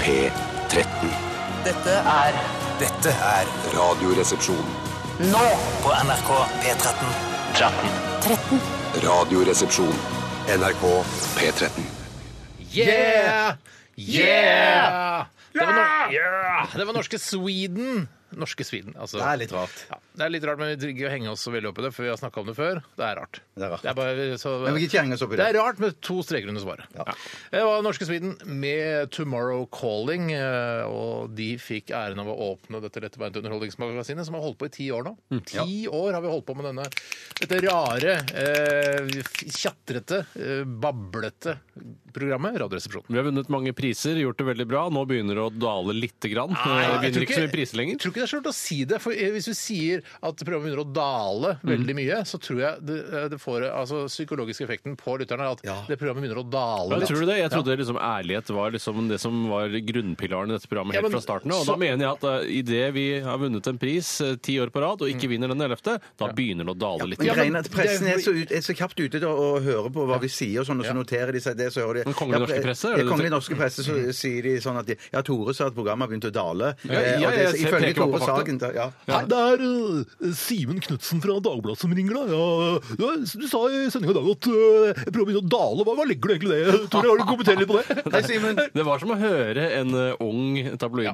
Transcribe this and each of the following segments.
P13. Dette er Dette er Radioresepsjon. nå på NRK P13. 13. Radioresepsjon. NRK P13. Yeah! Yeah! Det var, no yeah! det var norske Sweden. Norske Sweden, altså. Det er litt rart. Ja, det er litt rart, men vi trenger ikke å henge oss så veldig opp i det, for vi har snakka om det før. Det er rart. Det er rart. bare, så, Men vi kan ikke henge oss opp i det er det. rart med to streker under svaret. Ja. Det var norske Sweden med 'Tomorrow Calling', eh, og de fikk æren av å åpne dette lettbeinte underholdningsmagasinet, som har holdt på i ti år nå. Ti år har vi holdt på med denne, dette rare, eh, tjatrete, eh, bablete programmet Radioresepsjonen. Vi har vunnet mange priser, gjort det veldig bra. Nå begynner det å dale lite grann. Nei, Vi jeg tror vinner ikke så mye priser Jeg lenger. tror ikke det er så lurt å si det. For eh, hvis vi sier at programmet begynner å dale veldig mye, så tror jeg det, eh, det får eh, altså, psykologiske effekten på lytterne at det programmet begynner å dale Ja, litt. tror du det? Jeg trodde liksom ærlighet var liksom det som var grunnpilaren i dette programmet Ja, helt men fra starten av. Og så- da mener jeg at idet vi har vunnet en pris eh, ti år på rad og ikke vinner den ellevte, da begynner det å dale litt. Men grann. greien er at Pressen er så, ut, er så kjapt ute til å, å høre på hva vi sier, og sånn, og så noterer de seg det. Så hører de Den kongelige Ja, norske presse, er Ja, det kongelige det? Mm. norske presse så sier de sånn at de, Ja, Tore sa at programmet har begynt å dale. Ja, Eh, ja, og det, jeg ser- ifølge peker på Tore fakta. Sagen. da- Ja. Hei, det er eh, Simen Knutsen fra Dagbladet som ringer deg. Ja, ja, du sa i sendinga i dag at eh, programmet begynner å dale. Hva, hva legger du egentlig i det? Tore, har du kommentert litt på det? Hei, Simen. Det var som å høre en eh, ung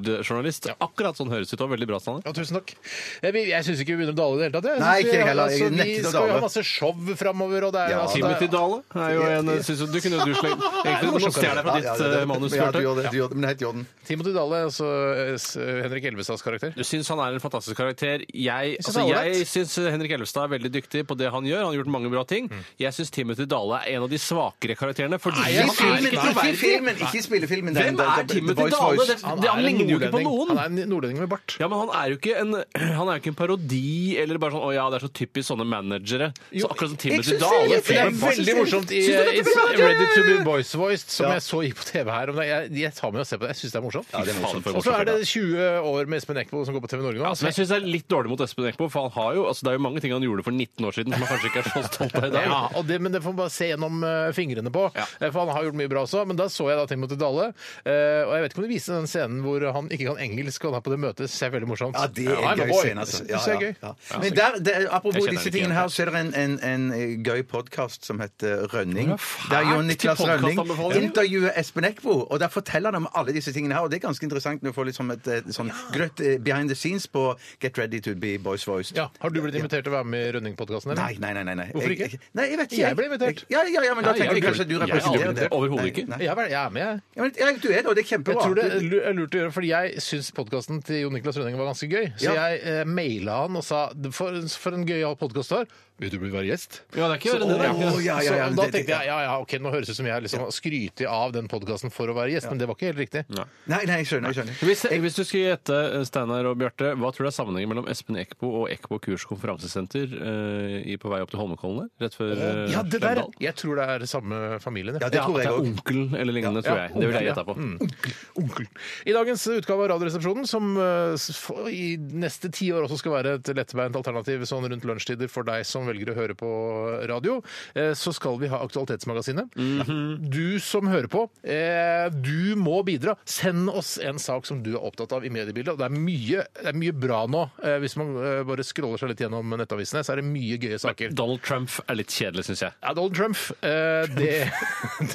tabloidjournalist. Akkurat sånn høres ut. Det var veldig bra, Steinar. Ja, tusen takk. Jeg, vi- jeg syns ikke vi begynner å dale i det hele tatt. Jeg. Nei, synes vi- ikke heller. Jeg altså, nekter Vi å skal jo dale. ha masse show framover, og det er Ja, altså, det Timothy er- Dale er jo en eh, synes, Du kunne jo du slenge Egentlig nå stjeler jeg fra Ja, ditt ja, det- eh, manus. Ja, du Bjarte. gjorde det. Du gjorde det, men det heter Jordan. Timothy Dale, altså eh, s- Henrik Elvestads karakter. Du syns han er en fantastisk karakter. Jeg, synes altså, han er jeg ålreit. syns Henrik Elvestad er veldig dyktig på det han gjør. Han har gjort mange bra ting. Jeg syns Timothy Dale er en av de svakere karakterene. Fordi Mm. Nei, han jeg er synes ikke Filmen, ikke troverdig. filmen, ikke spillefilmen. den- Hvem den- er den- The Timothy Voice Dale? Voice. Det, det, han en ligner jo ikke på nordlending. noen. Han er en nordlending med bart. Ja, men han er jo ikke en, han er jo ikke en parodi eller bare sånn 'Å ja, det er så typisk sånne managere'. Så akkurat som Timothy Dale. Det er veldig morsomt i Synes du dette It's Ready to be Boys Voiced, som jeg så gikk på TV her om dagen. Jeg, jeg tar med og ser på det. Jeg syns det er morsomt. det er morsomt. Og så er det 20 år med Espen Eckbo som går på TV Norge nå. altså, Men jeg syns det er litt dårlig mot Espen Eckbo, for han har jo, altså, det er jo mange ting han gjorde for 19 år siden som han kanskje ikke er så stolt av i dag. ja, og det, men det får man bare se gjennom eh, fingrene på. Eh, For han har gjort mye bra også. Men da så jeg da Timothy Dale. eh, og jeg vet ikke om du viste den scenen hvor han ikke kan engelsk og han er på det møtet. Det er veldig morsomt. Ja, det I'm er a en gøy boy. scene, altså. Det Ja, synes jeg er ja, gøy. ja. Men der, der, Jeg apropos kjenner disse ikke tingene igjen. her, så er det en, en, en eh, gøy podkast som heter Rønning. fælt Der Jon til Niklas Rønning podcastanbefaling. intervjuer Espen Eckbo, og der forteller han om alle disse tingene her. Og det er ganske interessant når du får litt sånn et, et sånn grøtt eh, behind the scenes på Get Ready to Be Boys Voiced. Ja, har du blitt invitert til å være med i Rønning-podkasten? Nei, nei, nei. nei, nei. Hvorfor Jeg- ikke? jeg- Nei, jeg vet ikke. Jeg ble invitert. Ja, ja, ja, men da Nei, jeg tenker er du ikke kanskje at du invitert. Jeg er representerer det. overhodet Nei, ikke. nei. Jeg er, vel- jeg er med, jeg. Ja, men, ja, du er det, og det er Jeg kjempebra. tror det er lu- er lurt å gjøre, fordi jeg syns podkasten til Jon Niklas Rønning var ganske gøy. Så Ja. jeg eh, maila han og sa for, for en gøyal podkast du har. Vil du bli være gjest? Ja, det er ikke Så- verre enn det, det er ikke det. Å, Ja, ja, ja, så men da det- det- tenkte jeg ja, ja, ok, nå høres det ut som jeg liksom skryter av den podkasten for å være gjest, men det var ikke helt riktig. Nei, nei, jeg skjønner. jeg skjønner. Hvis, hvis du skulle gjette, eh, Steinar og Bjarte, hva tror du er sammenhengen mellom Espen Eckbo og Eckbo kurs konferansesenter eh, i- på vei opp til Holmenkollen der? Rett før eh, Ja, det der, Slemdal? jeg tror det er samme familien. Ja, Ja, det tror jeg At det er òg. onkelen eller lignende, tror jeg. Det vil jeg gjette på. Mm. Onkel. I dagens utgave av Radioresepsjonen, som eh, s- f- i neste ti år også skal være et lettbeint alternativ sånn rundt lunsjtider for deg som velger å høre på radio, eh, så skal vi ha Aktualitetsmagasinet. Du som hører på, eh, du må bidra. Send oss en sak som du er opptatt av i mediebildet. Og det er mye, det er mye bra nå. Eh, Hvis man eh, bare scroller seg litt gjennom nettavisene, så er det mye gøye saker. Donald Trump er litt kjedelig, syns jeg. Ja, Donald Trump, eh, det,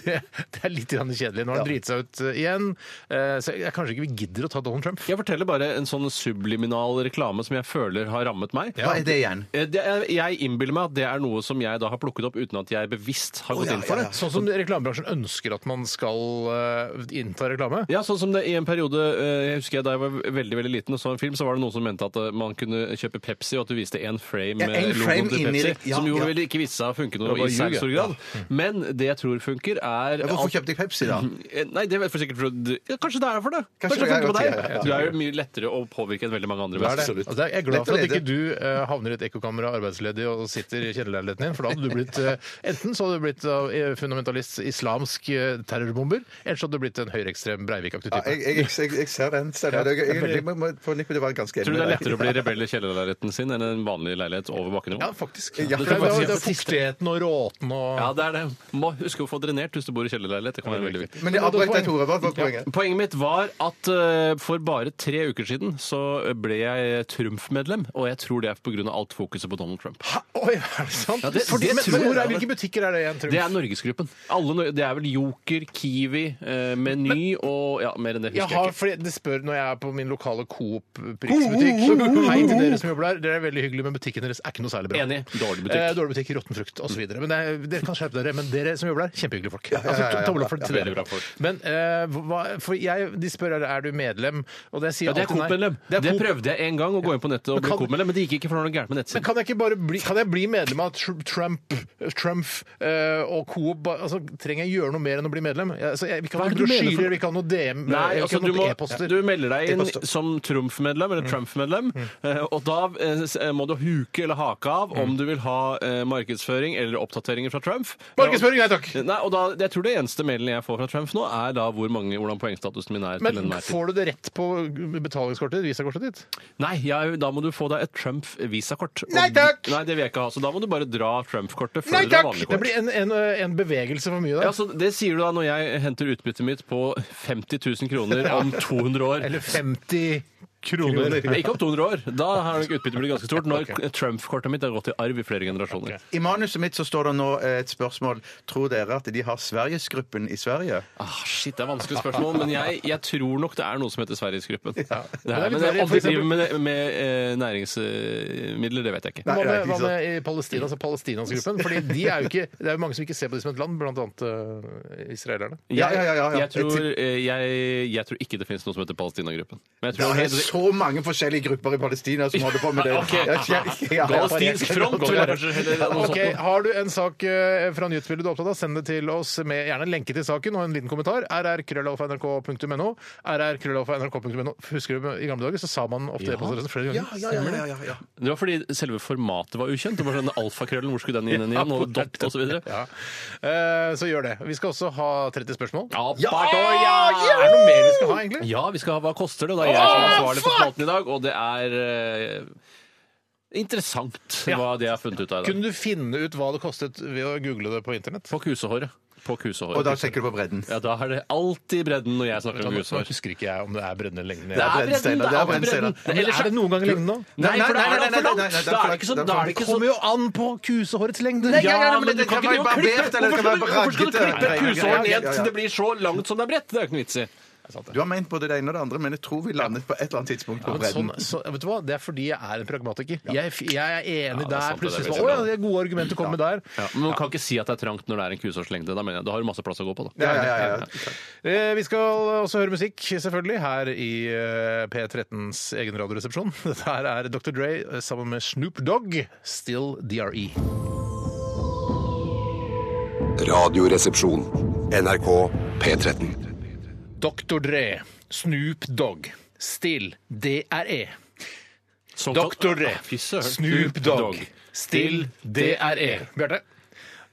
det, det er litt grann kjedelig. Nå har han driti seg ut eh, igjen. Eh, så jeg, jeg kanskje ikke vi gidder å ta Donald Trump. Jeg forteller bare en sånn subliminal reklame som jeg føler har rammet meg. Hva er det igjen? Eh, Det er, jeg innbiller meg at det er noe som jeg da har plukket opp uten at jeg bevisst har gått ja, inn for ja, det. ja. Sånn som reklamebransjen ønsker at man skal eh, innta reklame. Ja, sånn som det i en periode eh, Jeg husker jeg da jeg var veldig veldig liten og så en film, så var det noen som mente at eh, man kunne kjøpe Pepsi, og at du viste én frame Ja, med en frame logoen til inni Pepsi, det, ja, som jo ja. vel ikke viste seg å funke noe Det var i særlig ljug, stor ja. grad. Men det jeg tror funker, er Hvorfor kjøpte jeg Pepsi, da? Eh, Nei, det vet jeg sikkert for du- ja, Kanskje det er for det. Kanskje, det det er funker på godt, deg. ja, ja, ja. Du er jo mye lettere å påvirke enn veldig mange andre. Det er det. mennesker. Altså, jeg er glad Lett å for at lede. ikke du eh, havner i et ekkokamera arbeidsledig og sitter i kjellerleiligheten din, for da hadde du blitt eh, enten så hadde du blitt eh, fundamentalist islamsk eh, terrorbomber, eller så hadde du blitt en høyreekstrem Breivik-aktig Ja, type. jeg, jeg, jeg, jeg, jeg ser den. Stemmer. det. Jeg, jeg, jeg, må- må- på nippet det var ganske enig Tror du det med er deg. lettere å bli rebell i kjellerleiligheten sin enn en vanlig leilighet over bakkenivå? Ja, faktisk. Ja, det, er, det det, var- er, det er fuktigheten og råten og Ja, det er det. Må huske å få drenert hvis du bor i kjellerleilighet. Det kan være veldig viktig. Men jeg avbrøt deg, Tore. Hva var poenget? Poenget mitt var at eh, for bare tre uker siden så ble jeg Trumf-medlem, og jeg tror det er pga. alt fokuset på Donald Trump. Hæ? Oi, er det sant? Ja, det- Fordi, det men, tror jeg hvor det er, er. hvilke butikker er det igjen, tror Det er Norgesgruppen. Alle, nor- det er vel Joker, Kiwi, eh, Meny og ja, mer enn det Jeg husker har, jeg ikke. fordi det spør når jeg er på min lokale Coop prisbutikk. så Hei til dere som jobber der. Dere er veldig hyggelige, men butikken deres er ikke noe særlig bra. Enig. Dårlig butikk. Eh, dårlig butikk, Mm. råtten frukt osv. Men det er, dere kan skjerpe dere. Men dere som jobber der, kjempehyggelige folk. Altså, tommel opp for til Veldig bra dere. folk. Men eh, hva, for jeg, de spør er, er du medlem, og det sier Ja, det er alltid nei. Coop-medlem. Det er Det Coop. prøvde jeg en gang, å gå inn på nettet og Men bli kan- Coop-medlem, men det gikk ikke for det var noe gærent med Men nettsiden. kan jeg ikke bare bli, kan jeg bli medlem av Tr- Trump, Trump eh, og Coop? Ba- Altså, trenger jeg gjøre noe mer enn å bli medlem? Jeg, altså, jeg, vi kan Hva ha er det du mener for- brosjyrer, vi kan ha noe DM, Nei, vi altså, kan du, ha må, noe e-poster. Mm. du melder deg inn E-poster. som Trumf-medlem, eller Trump-medlem, eh, og da eh, s- eh, må du huke eller hake av Mm. om du vil ha eh, markedsføring eller oppdateringer fra Trump. Markedsføring, nei takk! Nei, og da, jeg tror det eneste mailen jeg får fra Trump nå, er da hvor mange, hvordan poengstatusen min er. til Men enhver tid. får du det rett på uh, betalingskortet? Visakortet ditt? Nei, jeg, da må du få deg et Trump-visakort. Og Nei, takk! d- Nei, det vil jeg ikke ha, så da må du bare dra Trump-kortet før Nei du har takk! Det vanlig kort. blir en, en, eh, en bevegelse for mye der. Ja, så det sier du da når jeg henter utbyttet mitt på 50 000 kroner om 200 år. Eller 50 Nei, kroner. Ikke om 200 år. Da har nok utbyttet blitt ganske stort. Når Trump-kortet mitt har gått i arv i flere generasjoner. I manuset mitt så står det nå eh, et spørsmål Tror dere at de har Sverigesgruppen i Sverige? Ah, shit, Det er vanskelig spørsmål, men jeg, jeg tror nok det er noe som heter Sverigesgruppen. Det er, Det er litt men det- verre, om for de driver med, med eh, næringsmidler, det vet jeg ikke. Nei, Hva nei, med, ikke hva sant. med i Palestina, altså Palestinas-gruppen? Fordi de er jo ikke, Det er jo mange som ikke ser på dem som et land, blant annet øh, israelerne. Ja, ja, ja, ja, ja. Jeg, tror, eh, jeg, jeg tror ikke det finnes noe som heter Palestinagruppen. Men jeg Det tror er så mange forskjellige grupper i Palestina som holder på med det. Ok. Jeg- jeg- jeg- Palestinsk front, vil jeg kanskje heller noe Ok, sånt. Har du en sak eh, fra nyhetsbildet du er opptatt av, send det til oss med gjerne en lenke til saken og en liten kommentar. rrkrøllalfa.nrk.no. rrkrøllalfa.nrk.no. Husker du i gamle dager så sa man ofte e-postadressen flere Ja, ganger? ja, ja, ja, ja, ja. Det var fordi selve formatet var ukjent. Det var sånn Alfakrøllen, hvor skulle den inn igjen? Og dot, og så videre. Ja. Eh, Så gjør det. Vi skal også ha 30 spørsmål. Ja, Er det noe mer vi skal ha, egentlig? Ja, vi skal ha Hva koster det? Og det er jeg som er ansvarlig for spalten i dag, og det er eh, interessant hva det jeg har funnet ut av i dag. Kunne du finne ut hva det kostet ved å google det på internett? På kusehåret. På kusehåret. Og da tenker du på bredden. Ja, da er det alltid bredden når jeg snakker om Nå kusehår. husker ikke jeg om det er brennende eller lengden. Det er bredden, bredden, Steinar, det er alltid det er bredden, bredden. Steinar. Men Ellers er det noen ganger lengden nå? Nei, Nei, nei, for da er det nei, nei, altfor nei, langt! nei, Da er det ikke sånn. Da er det ikke sånn. jo an på kusehårets lengde! ja, ja, men det du kan kan ikke være barbert, drive og klippe. eller det Hvorfor kan skal du- være Hvorfor skal du raggete? Nei, klippe nei, ok, kusehår ja, ned ja, ja. til det blir så langt som det er bredt? Det er jo ikke noe vits i. Du har ment både det ene og det andre, men jeg tror vi landet på et eller annet tidspunkt på Men sånn, bredden. så, vet du hva? Det er fordi jeg er en pragmatiker. Jeg, f- jeg er enig det er der. sant, det plutselig er så, Å veldig ja, det er gode argumenter kommer der. Ja, men man kan ikke si at det er trangt når det er en kusehårslengde. Da mener jeg, da har du masse plass å gå på, da. Ja, ja, ja, ja. Eh, Vi skal også høre musikk, selvfølgelig, her i eh, P13s egen radioresepsjon. Dette her er Dr. Dre eh, sammen med Snoop Dogg, Still E. DRE. Radioresepsjon. NRK P13. Dr. Dre, Snoop Dogg, Still E. DRE. Sånn kan- Dr. Dre, Fy søren. E. Snoop Dogg, Still DRE. Bjarte? E.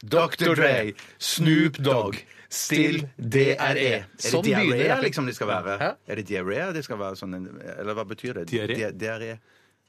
Dr. Dre, E. Snoop Dogg, Still DRE. Sånn er det begynner diaré jeg. liksom det skal være? Hæ? Er det diaré det skal være sånn en, Eller hva betyr det? Diaré? Di- Diaré.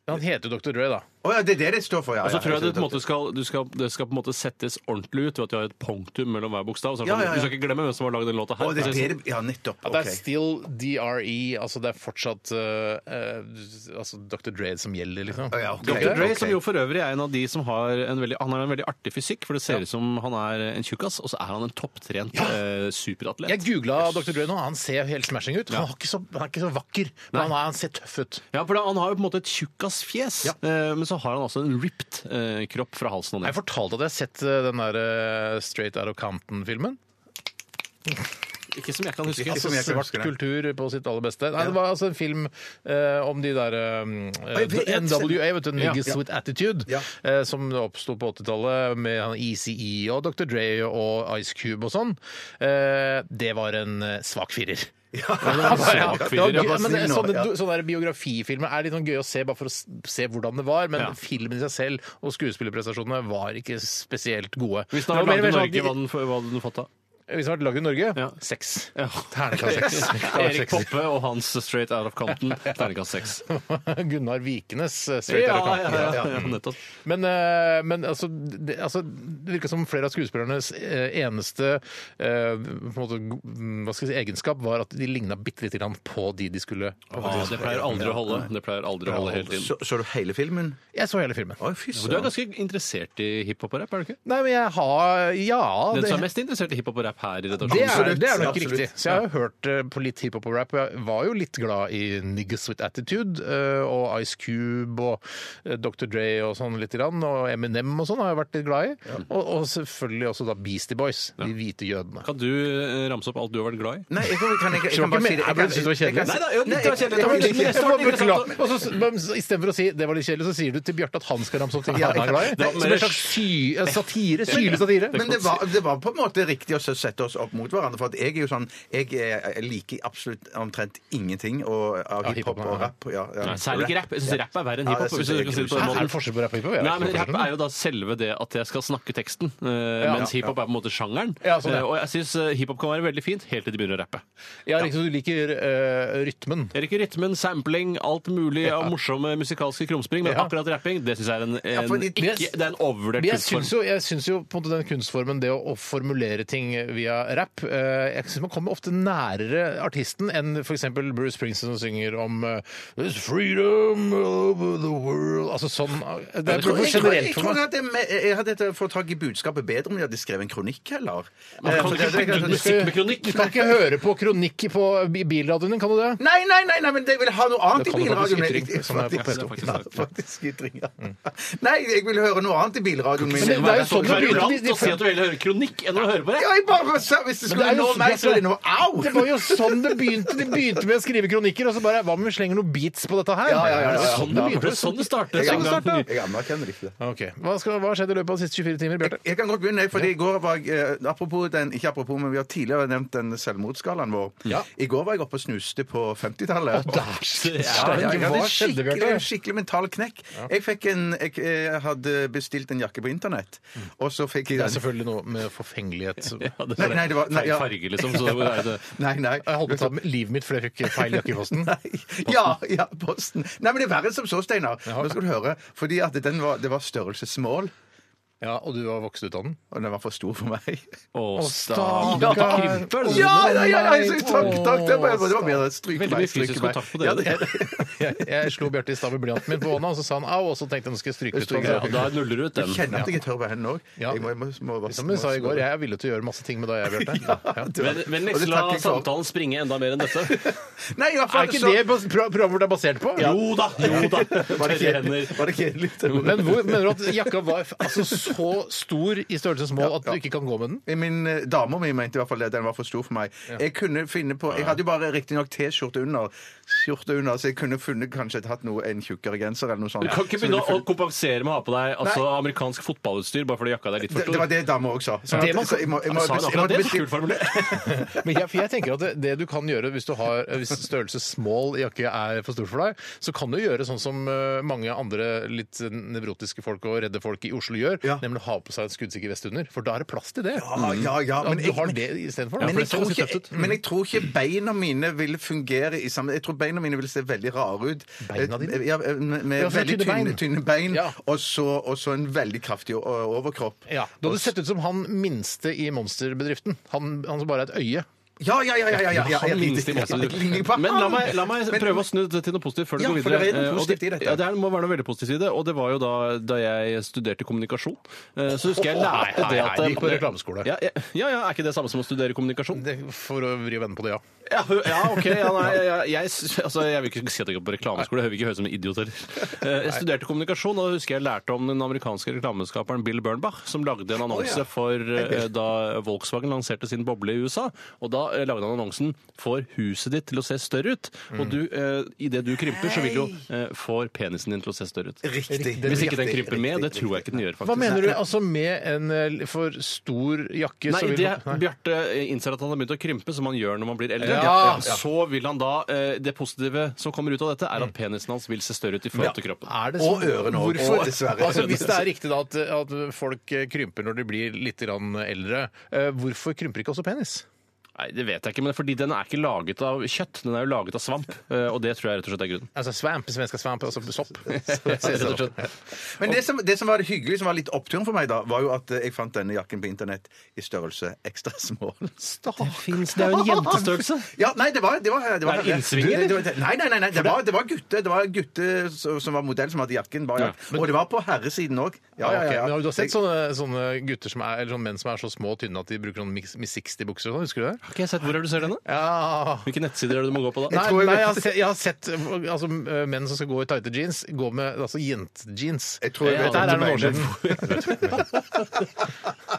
Han heter jo Dr. Dre, da. Å ja, det er det det står for, ja. Og så ja, tror jeg jeg det, på en skjønner. måte skal, du skal, det skal på en måte settes ordentlig ut ved at du har et punktum mellom hver bokstav. Så er det Ja, sånn, ja, ja. Du skal ikke glemme hvem som har lagd den låta her. Å, det Så er det er det det Ja, nettopp. Ja, det ok. er still DRE, altså det er fortsatt eh, eh, altså Dr. Dre som gjelder, liksom. Å, ja, ok. Dr. Dre, Ok. som jo for øvrig er en av de som har en veldig, han har en veldig artig fysikk, for det ser ut som han er en tjukkas, og så er han en topptrent eh, superatlet. Jeg googla Dr. Dre nå, han ser helt smashing ut. Han, har ikke så, han er ikke så vakker, men Nei. han, er, han ser tøff ut. Ja, for da, Han har jo på en måte et tjukkasfjes, Ja. eh, men så har han altså en ripped eh, kropp fra halsen og Jeg ned. fortalte at jeg har sett eh, den der eh, Straight Out of Compton-filmen. Ikke som jeg kan huske. Ikke som jeg kan Svart huske det. Altså, kultur på sitt aller beste. Nei, det var altså en film eh, om de der eh, jeg vet- jeg- NWA, vet du, Niggas Ja. With Attitude, Ja. eh, som oppsto på 80-tallet med han ECE og Dr. Dre og Ice Cube og sånn. Eh, det var en eh, svak firer. Ja, ja. svak Det firer, var ja, gøy, bare men det er snill nå, Sånne, ja. du- sånne der biografifilmer er litt sånn gøy å se bare for å s- se hvordan det var, men Ja. filmen i seg selv og skuespillerprestasjonene var ikke spesielt gode. Hvis Det han har var mer lagd i sånn at Norge, de- hva hadde den, hva hadde den fått da? Hvis den har vært lagd i Norge Ja. seks. Ja. Ternekast seks. Erik Poppe og hans Straight Out of Compton. Terningkast seks. Gunnar Vikenes eh, Ja, straight out of Compton. ja, ja, ja, nettopp. Men, eh, men altså, det, altså, det virka som flere av skuespillernes eh, eneste eh, på en måte, go- mm, hva skal jeg si, egenskap var at de ligna bitte lite grann på de de skulle Ja, Ah, det pleier aldri å holde. Det pleier aldri å holde helt inn. Så, så du hele filmen? Jeg så hele filmen. Oi, fy Du søren. er ganske interessert i hiphop og rap, er du ikke? Nei, men jeg har Ja. Den det- som er mest interessert i hiphop og rap her i Det redaksjonen. er, Absolutt. det er nok Absolutt. riktig. Så jeg har hørt eh, på litt hiphop og rap. og Jeg var jo litt glad i Niggas With Attitude eh, og Ice Cube og eh, Dr. Dre og sånn litt, grann, og Eminem og sånn har jeg vært litt glad i. Og, og selvfølgelig også da Beastie Boys, de hvite jødene. Kan du eh, ramse opp alt du har vært glad i? Nei, jeg kan, kan, jeg, jeg, Så kan bare ikke si mer- det. jeg bare synes det var kjedelig. jeg kan si- Nei da, jo, det Nei, var kjedelig, det jeg- var jeg- kjedelig. jeg- Det var Beklager. Og så- men Istedenfor å si 'det var litt kjedelig', så sier du til Bjarte at han skal ramse opp ting han er glad i. det var Som mer- en slags sy, eh, satire. Syrlig satire. Men det var, det var på en måte riktig å sette oss opp mot hverandre. For at jeg er jo sånn Jeg eh, liker absolutt omtrent ingenting og, av Ja, hiphop hiphop, og ja. rap. Ja, ja. Nei, Særlig ikke rap. Jeg syns rap er verre enn Ja, jeg hiphop. synes hvis du det er kan si det på kult. den Er det måten. forskjell på rap og hiphop? Jeg Nei, vet men ikke Rap forskjellen. er jo da selve det at jeg skal snakke teksten, eh, Ja. mens hiphop er på en måte sjangeren. Ja, sånn, ja. Eh, Og jeg syns hiphop kan være veldig fint helt til de begynner å rappe. Ja, riktig, så liksom- du liker eh, rytmen. Jeg liker rytmen, sampling, alt mulig av morsomme musikalske krumspring, men Ja. akkurat rapping det synes jeg er en, en, fordi- ikke, det er en overvurdert Men jeg kunstform. syns jo, jeg syns jo på en måte den kunstformen, det å, å formulere ting via rap eh, Jeg syns man kommer ofte nærere artisten enn f.eks. Bruce Springsteen som synger om eh, There's freedom over the world Altså sånn eh, Det Jeg er tror, jeg, tror- jeg, generelt tror for meg. at jeg, jeg hadde fått tak i budskapet bedre om de hadde skrevet en kronikk heller. Man Eh, kan for ikke det- det- begynne med musikk med kronikk. Du kan ikke høre på kronikk på i bilradioen din, kan du det? Nei, nei, nei, nei, men jeg vil ha noe annet Det i kan du faktisk bilradioen. ytring, Jeg- som er på Mm. faktisk- Facebook. ja, faktisk ytring, ja. Nei, jeg vil høre noe annet i bilradioen min. Men det er jo sånn Det du er begynner. ignorant å si at du heller hører kronikk enn å høre på Ja, rap. jeg bare sa Hvis Men det det skulle er jo nå så- meg, så er det noe Au! Det var jo sånn det begynte. De begynte med å skrive kronikker, og så bare Hva om vi slenger noen beats på dette her? Ja, ja, ja, ja, Er det ja. Sånn det begynte. Det er sånn det starter. Jeg Sånn det starter. anerkjenner- jeg anerkjenner ikke det. Ok. Hva, skal, hva skjedde i løpet av de siste 24 timer, Bjarte? Jeg kan godt begynne, jeg, fordi i går var jeg, eh, apropos den, ikke apropos, men vi har tidligere nevnt den selvmordsskalaen vår. Ja. I går var jeg oppe og snuste på 50-tallet. Ja, Stein, ja, jeg hva hadde skjedde, skikkelig, Bjarte? skikkelig mental knekk. Jeg, fikk en, jeg, eh, hadde bestilt en jakke på internett, og så fikk Det jeg er den. Mm. selvfølgelig noe med forfengelighet. Ja, det Nei, er nei, det var- nei, feil ja. farge, liksom. Så det er det. Nei, nei. Jeg holdt på å ta livet mitt fordi jeg fikk feil jakke i posten. Ja, ja, posten. Nei, men det er verre enn som så, Steinar. Nå skal du høre. Fordi at den var, det var størrelsesmål, Ja, og du har vokst ut av den? og den var for stor for meg. Å, stakkar. stakkar. Krymper den? Ja, ja, ja, ja, så takk, takk. Det var, det var bedre. Stryk Veldig meg. mye fysisk stryk meg. kontakt på Ja, dere. det- Jeg, jeg slo Bjarte i stad med blyanten min på hånda, og så sa han au, og så tenkte jeg nå skal jeg stryke ut. Ja, hånda. da nuller du ut Jeg den. kjenner at jeg er tørr på hendene òg. Ja. Jeg må, jeg må, må, må, Som jeg sa i går, jeg er villig til å gjøre masse ting med deg, jeg, Bjarte. Ja. Men, men Og det la takker jeg for. samtalen springe enda mer enn dette. Nei, i hvert fall Er ikke så- det bas- pro- programmet vårt er basert på? Jo da! Jo da. Var det Tørre hender. kjedelig? Var det kjedelig? Men hvor, mener du at jakka var f- altså, så stor i størrelsesmål at du ikke kan gå med den? Min eh, dama mi mente i hvert fall det, den var for stor for meg. Jeg kunne finne på Jeg hadde jo bare riktignok T-skjorte under, skjorte under, så jeg kunne funnet kanskje hatt noe, en tjukkere genser eller noe sånt. Du kan ikke Så begynne ville å funnet- kompensere med å ha på deg altså, amerikansk fotballutstyr bare fordi jakka di er litt for det, det stor. var det dama òg sa. Så Det man- så jeg må- jeg må- Sa han jeg må- akkurat det? jeg må- Kult formulert. Men jeg, for jeg tenker at det, det du kan gjøre hvis, du har, hvis størrelse small jakke er for stor for deg, så kan du gjøre sånn som eh, mange andre litt nevrotiske folk og redde folk i Oslo gjør, Ja. nemlig å ha på seg en skuddsikker vest under. For da er det plass til det. Ja, Ah, ja, ja, At men du jeg- har det istedenfor. Men Ja, jeg, så tror ganske ikke, tøft men jeg tror ikke beina mine vil fungere i samme Jeg tror beina mine vil se veldig rare ut. Eh, Beina dine? Ja, med med Ja, så veldig tynne bein. tynne, tynne bein, Ja. og, så, og så en veldig kraftig o- overkropp. ja. Du hadde sett ut som han minste i monsterbedriften. Han, han som bare er et øye. Ja, ja, ja! ja, ja, ja, ja Han minste i monster. Jeg ligner på Men la han. meg, la meg Men- prøve å snu dette til noe positivt før du Ja, går for videre. det er noe Eh, og positivt i dette. ja, det er, må være noe veldig positivt i det. Og det var jo da, da jeg studerte kommunikasjon. eh, Så husker jeg Nei, lærte nei, det nei, at du gikk på reklameskole. Ja, ja, ja, ja, er ikke det samme som å studere kommunikasjon? Det, for å vri og vende på det, ja. Ja, hø- ja OK. Ja, nei, jeg, jeg, jeg- altså, jeg vil ikke si at jeg går på reklameskole. Jeg vil ikke høres ut som en idiot heller. Eh, Jeg studerte kommunikasjon, og da husker jeg lærte om den amerikanske reklameskaperen Bill Bernbach, som lagde en annonse for eh, da Volkswagen lanserte sin boble i USA. Og da eh, lagde han annonsen 'Får huset ditt til å se større ut'. Og du, eh, idet du krymper, så vil jo eh, 'Får penisen din til å se større ut'. Riktig. Hvis ikke den krymper med, det tror jeg ikke den gjør, Hva faktisk. mener du? Altså med en eh, for stor jakke så Nei, vil det man- Nei. Bjarte eh, innser at han har begynt å krympe, som han gjør når man blir eldre. Ja, ja. Så vil han da eh, Det positive som kommer ut av dette, er at penisen hans vil se større ut i forhold til kroppen. Er det Og sånn? ørene også, Hvorfor? og dessverre. Altså, hvis det er riktig da at, at folk eh, krymper når de blir litt grann eldre, eh, hvorfor krymper ikke også penis? Nei, det vet jeg ikke, men fordi den er ikke laget av kjøtt, den er jo laget av svamp. eh, Og det tror jeg rett og slett er grunnen. Altså svamp, svenska svamp, altså sopp. Rett og slett. Men det som, det som var det hyggelige, som var litt oppturen for meg, da, var jo at eh, jeg fant denne jakken på internett i størrelse ekstra small. Fins det er jo en jentestørrelse? Ja, nei, det var, det var, det var Er det innsvinger, Du, det- det- Nei, nei, nei, nei det, var, det var gutter Det var gutter som som var modell, som hadde jakken. Bare, Ja, Og det var på herresiden òg. Ja, ja, Ok, ja, Men har du da ja. sett sånne, sånne gutter som er, eller sånne menn som er så små og tynne at de bruker sånn Miss Miss 60-bukser og sånn? Husker du det? Har ikke jeg sett hvor er det du ser denne? Ja. Hvilke nettsider er det du må gå på da? Nei, tror jeg- nei jeg, har sett, jeg har sett altså, menn som skal gå i tighte jeans, gå med altså, jentejeans. Jeg tror jeg Ja, vet der er hva du det noen år mener. siden.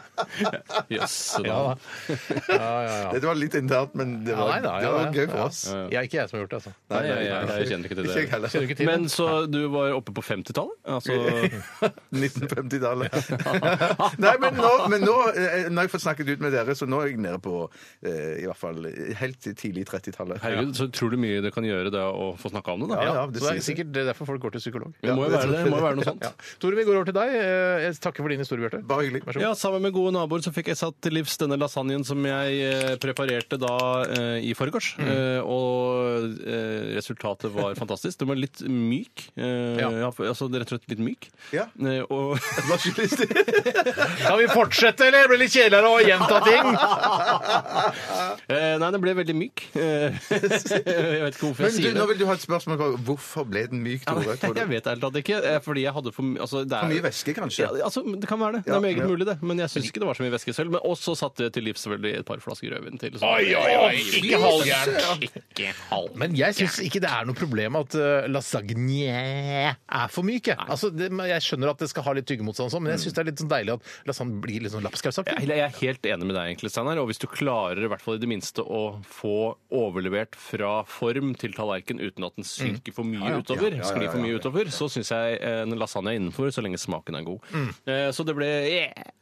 Jøss, da. Ja, Dette var litt internt, men det var, Ja, nei da, det ja, var ja. gøy for oss. da. Jeg er ikke jeg som har gjort det, altså. Nei, jeg, jeg, jeg kjenner ikke til Ikke jeg det. heller. Kjenner du ikke til det? Men så du var oppe på 50-tallet? Altså, 1950-tallet. Nei, men nå, men nå eh, når jeg får snakket ut med dere, så nå er jeg nede på eh, i hvert fall helt til tidlig 30-tallet. herregud, så utrolig mye det kan gjøre det å få snakka om det, da. Ja, ja, Så det det er sier sikkert det er derfor folk går til psykolog. Det må jo det være det. det må jo være noe sånt. Ja. Tore, vi går over til deg. Eh, Jeg takker for din historie, Bjarte. Bare hyggelig. Vær så god. Ja, sammen med gode naboer så fikk jeg satt til livs denne lasagnen som jeg eh, preparerte da eh, i forgårs. Mm. Eh, og eh, resultatet var fantastisk. Den var litt myk. Eh, Ja. ja. for- altså rett og slett litt myk. Ja. Eh, og Hva skyldes det? Kan vi fortsette, eller? Det blir litt kjedeligere å gjenta ting. eh, Nei, den ble veldig myk. Eh, jeg vet ikke hvorfor Men jeg du, sier nå det. vil du ha et spørsmål. på Hvorfor ble den myk, Tore? tror Jeg du? vet ærlig talt ikke. eh, Fordi jeg hadde for, my- altså, det er, For mye væske, kanskje? Ja, altså, det kan være det. Det Ja, er meget ja. mulig, det. Men jeg syns ikke det var så mye væske selv. Men også satt det til livs selvfølgelig et par flasker rødvin til. så- Oi, oi, oi. Ikke halvgærent. Ikke halv. Men jeg syns ikke det er noe problem at eh, lasagne er for myk. jeg. Altså, det, men jeg skjønner at det skal ha litt tyggemotstand, og sånn, men jeg syns det er litt sånn deilig at lasagne blir litt sånn Jeg lapskausaktig. jeg er helt enig med deg, egentlig, Steinar. Og hvis du klarer i hvert fall i det minste å få overlevert fra form til tallerken uten at den synker for mye utover, sklir for mye utover, så syns jeg eh, en lasagne er innenfor, så lenge smaken er god. Eh, Så det ble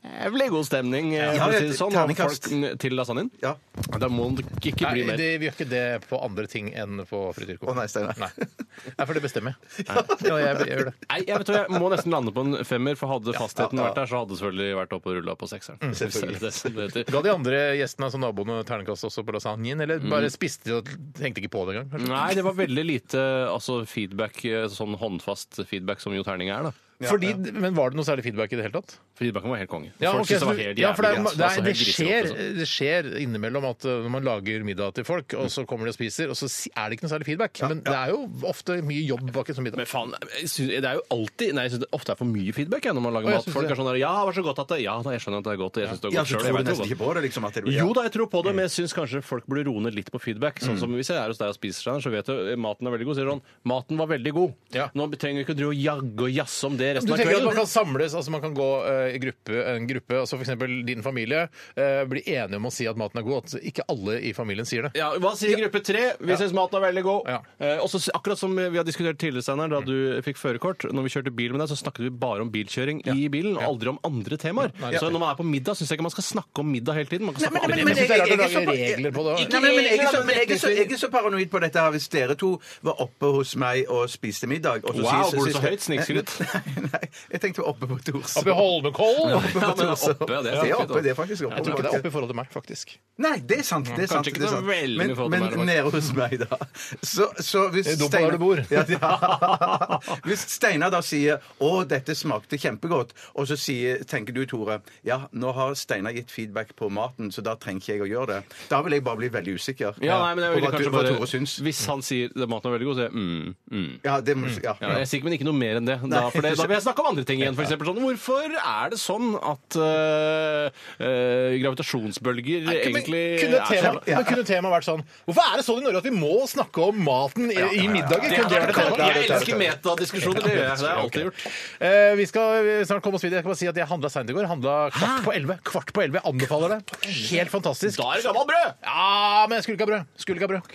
jævlig god stemning, eh, Ja, for å si et det sånn, av terningkast. folk mm, til lasagnen. Ja. Da må det ikke Nei, bli mer. det, vi gjør ikke det på andre ting enn på frityrkoking. Å, nei, Steinar. Nei. Nei, for det bestemmer jeg. Ja, jeg, jeg gjør det. Nei, jeg, vet, du, jeg må nesten lande på en femmer, for hadde fastheten vært der, så hadde det selvfølgelig vært oppe og rulla på sekseren. Selvfølgelig. Det, er sånn det heter. Ga de andre gjestene, altså naboene, terningkast også på lasagnen? Eller Mm. bare spiste de og tenkte ikke på det engang? kanskje? Nei, det var veldig lite altså, feedback, eh, sånn håndfast feedback som Jo Terning er, da. Fordi, men var det noe særlig feedback i det hele tatt? Feedbacken var helt konge. Ja, Folk ok, syntes det så var du- helt ja, for det, er, jævlig, ma- det, altså, er, helt det, skjer, griserått og sånn. det skjer innimellom at uh, når man lager middag til folk, Mm. og så kommer de og spiser, og så si- er det ikke noe særlig feedback. Men det er jo ofte mye jobb bak en sånn Men middag. faen, jeg synes, det er jo alltid Nei, jeg syns det ofte er for mye feedback jeg, når man lager Å, jeg mat. synes Folk det. er sånn der, Ja, det var så godt at det Ja, da, jeg skjønner at det er godt. og Jeg syns det er Ja, så godt selv, altså, tror jeg du vet det er nesten godt. ikke på det, liksom. At det Jo da, jeg tror på det, men jeg syns kanskje folk burde roe ned litt på feedback. Sånn som Hvis jeg er hos deg og spiser, Steinar, så vet du eh, maten er veldig god. Sier sånn Maten var veldig god. Ja. Nå trenger vi ikke å drive og jagge og jazze om det Du resten av tenker at man kvelden. kan samles, altså man kan gå eh, i gruppe, en gruppe, altså f.eks. din familie, eh, bli enige om å si at maten er god. At ikke alle i familien sier det. Ja, hva sier gruppe tre? Vi syns maten er veldig god. Ja. Eh, også, s- akkurat som vi har diskutert tidligere, Steinar, da du fikk førerkort, når vi kjørte bil med deg, så snakket vi bare om bilkjøring i bilen, og aldri om andre temaer. Så når man er på middag, syns jeg ikke man skal snakke om middag hele tiden. Man kan snakke om men- andre ting. jeg synes det er rart å jeg- jeg- lage regler på det også. Nei, men, men jeg, er så, men jeg, er så, jeg er så paranoid på dette her hvis dere to var oppe hos meg og spiste middag og så Wow, sier- går sier- du så høyt? Snikskryt. Nei, nei, jeg tenkte oppe på Torshov. Oppe i Holmenkollen! Oppe på Ja, men Torshov. oppe, det er Det er fint, oppe, da. det er faktisk oppe. Jeg tror ikke det er oppe i forhold til meg, faktisk. Nei, det er sant. det er sant, Kanskje ikke det er så sant. veldig mye forhold Men, til meg, men nede hos meg, da. Så, så hvis Det er Eh, dumt der du bor. Ja, ja. Hvis Steinar da sier 'Å, dette smakte kjempegodt', og så sier, tenker du, Tore, 'Ja, nå har Steinar gitt feedback på maten, så da trenger ikke jeg å gjøre det'. Da vil jeg bare bli veldig usikker Ja, nei, men jeg på ville hva, du, kanskje hva bare, Tore syns. Hvis han sier at maten er veldig god, så sier jeg mm, mm. Ja, det må, ja. Ja, jeg sier ikke, men ikke noe mer enn det. Da, Nei, for det, du da vil jeg snakke om andre ting igjen. For eksempel sånn, hvorfor er det sånn at øh, øh, gravitasjonsbølger egentlig kunne er så tema, jævla- men kunne tema vært sånn Hvorfor er det sånn i Norge at vi må snakke om maten i, i middager? Kunne det vært et tema? Jeg elsker metadiskusjoner. Det gjør jeg. Det har jeg alltid gjort. Eh, vi skal snart komme oss videre. Jeg skal bare si at jeg handla seint i går. Handla kvart på elleve. Kvart på elleve. Jeg anbefaler det. Helt fantastisk. Da er det gammelt brød! Ja, men jeg skulle ikke ha brød. Skulle ikke ha brød.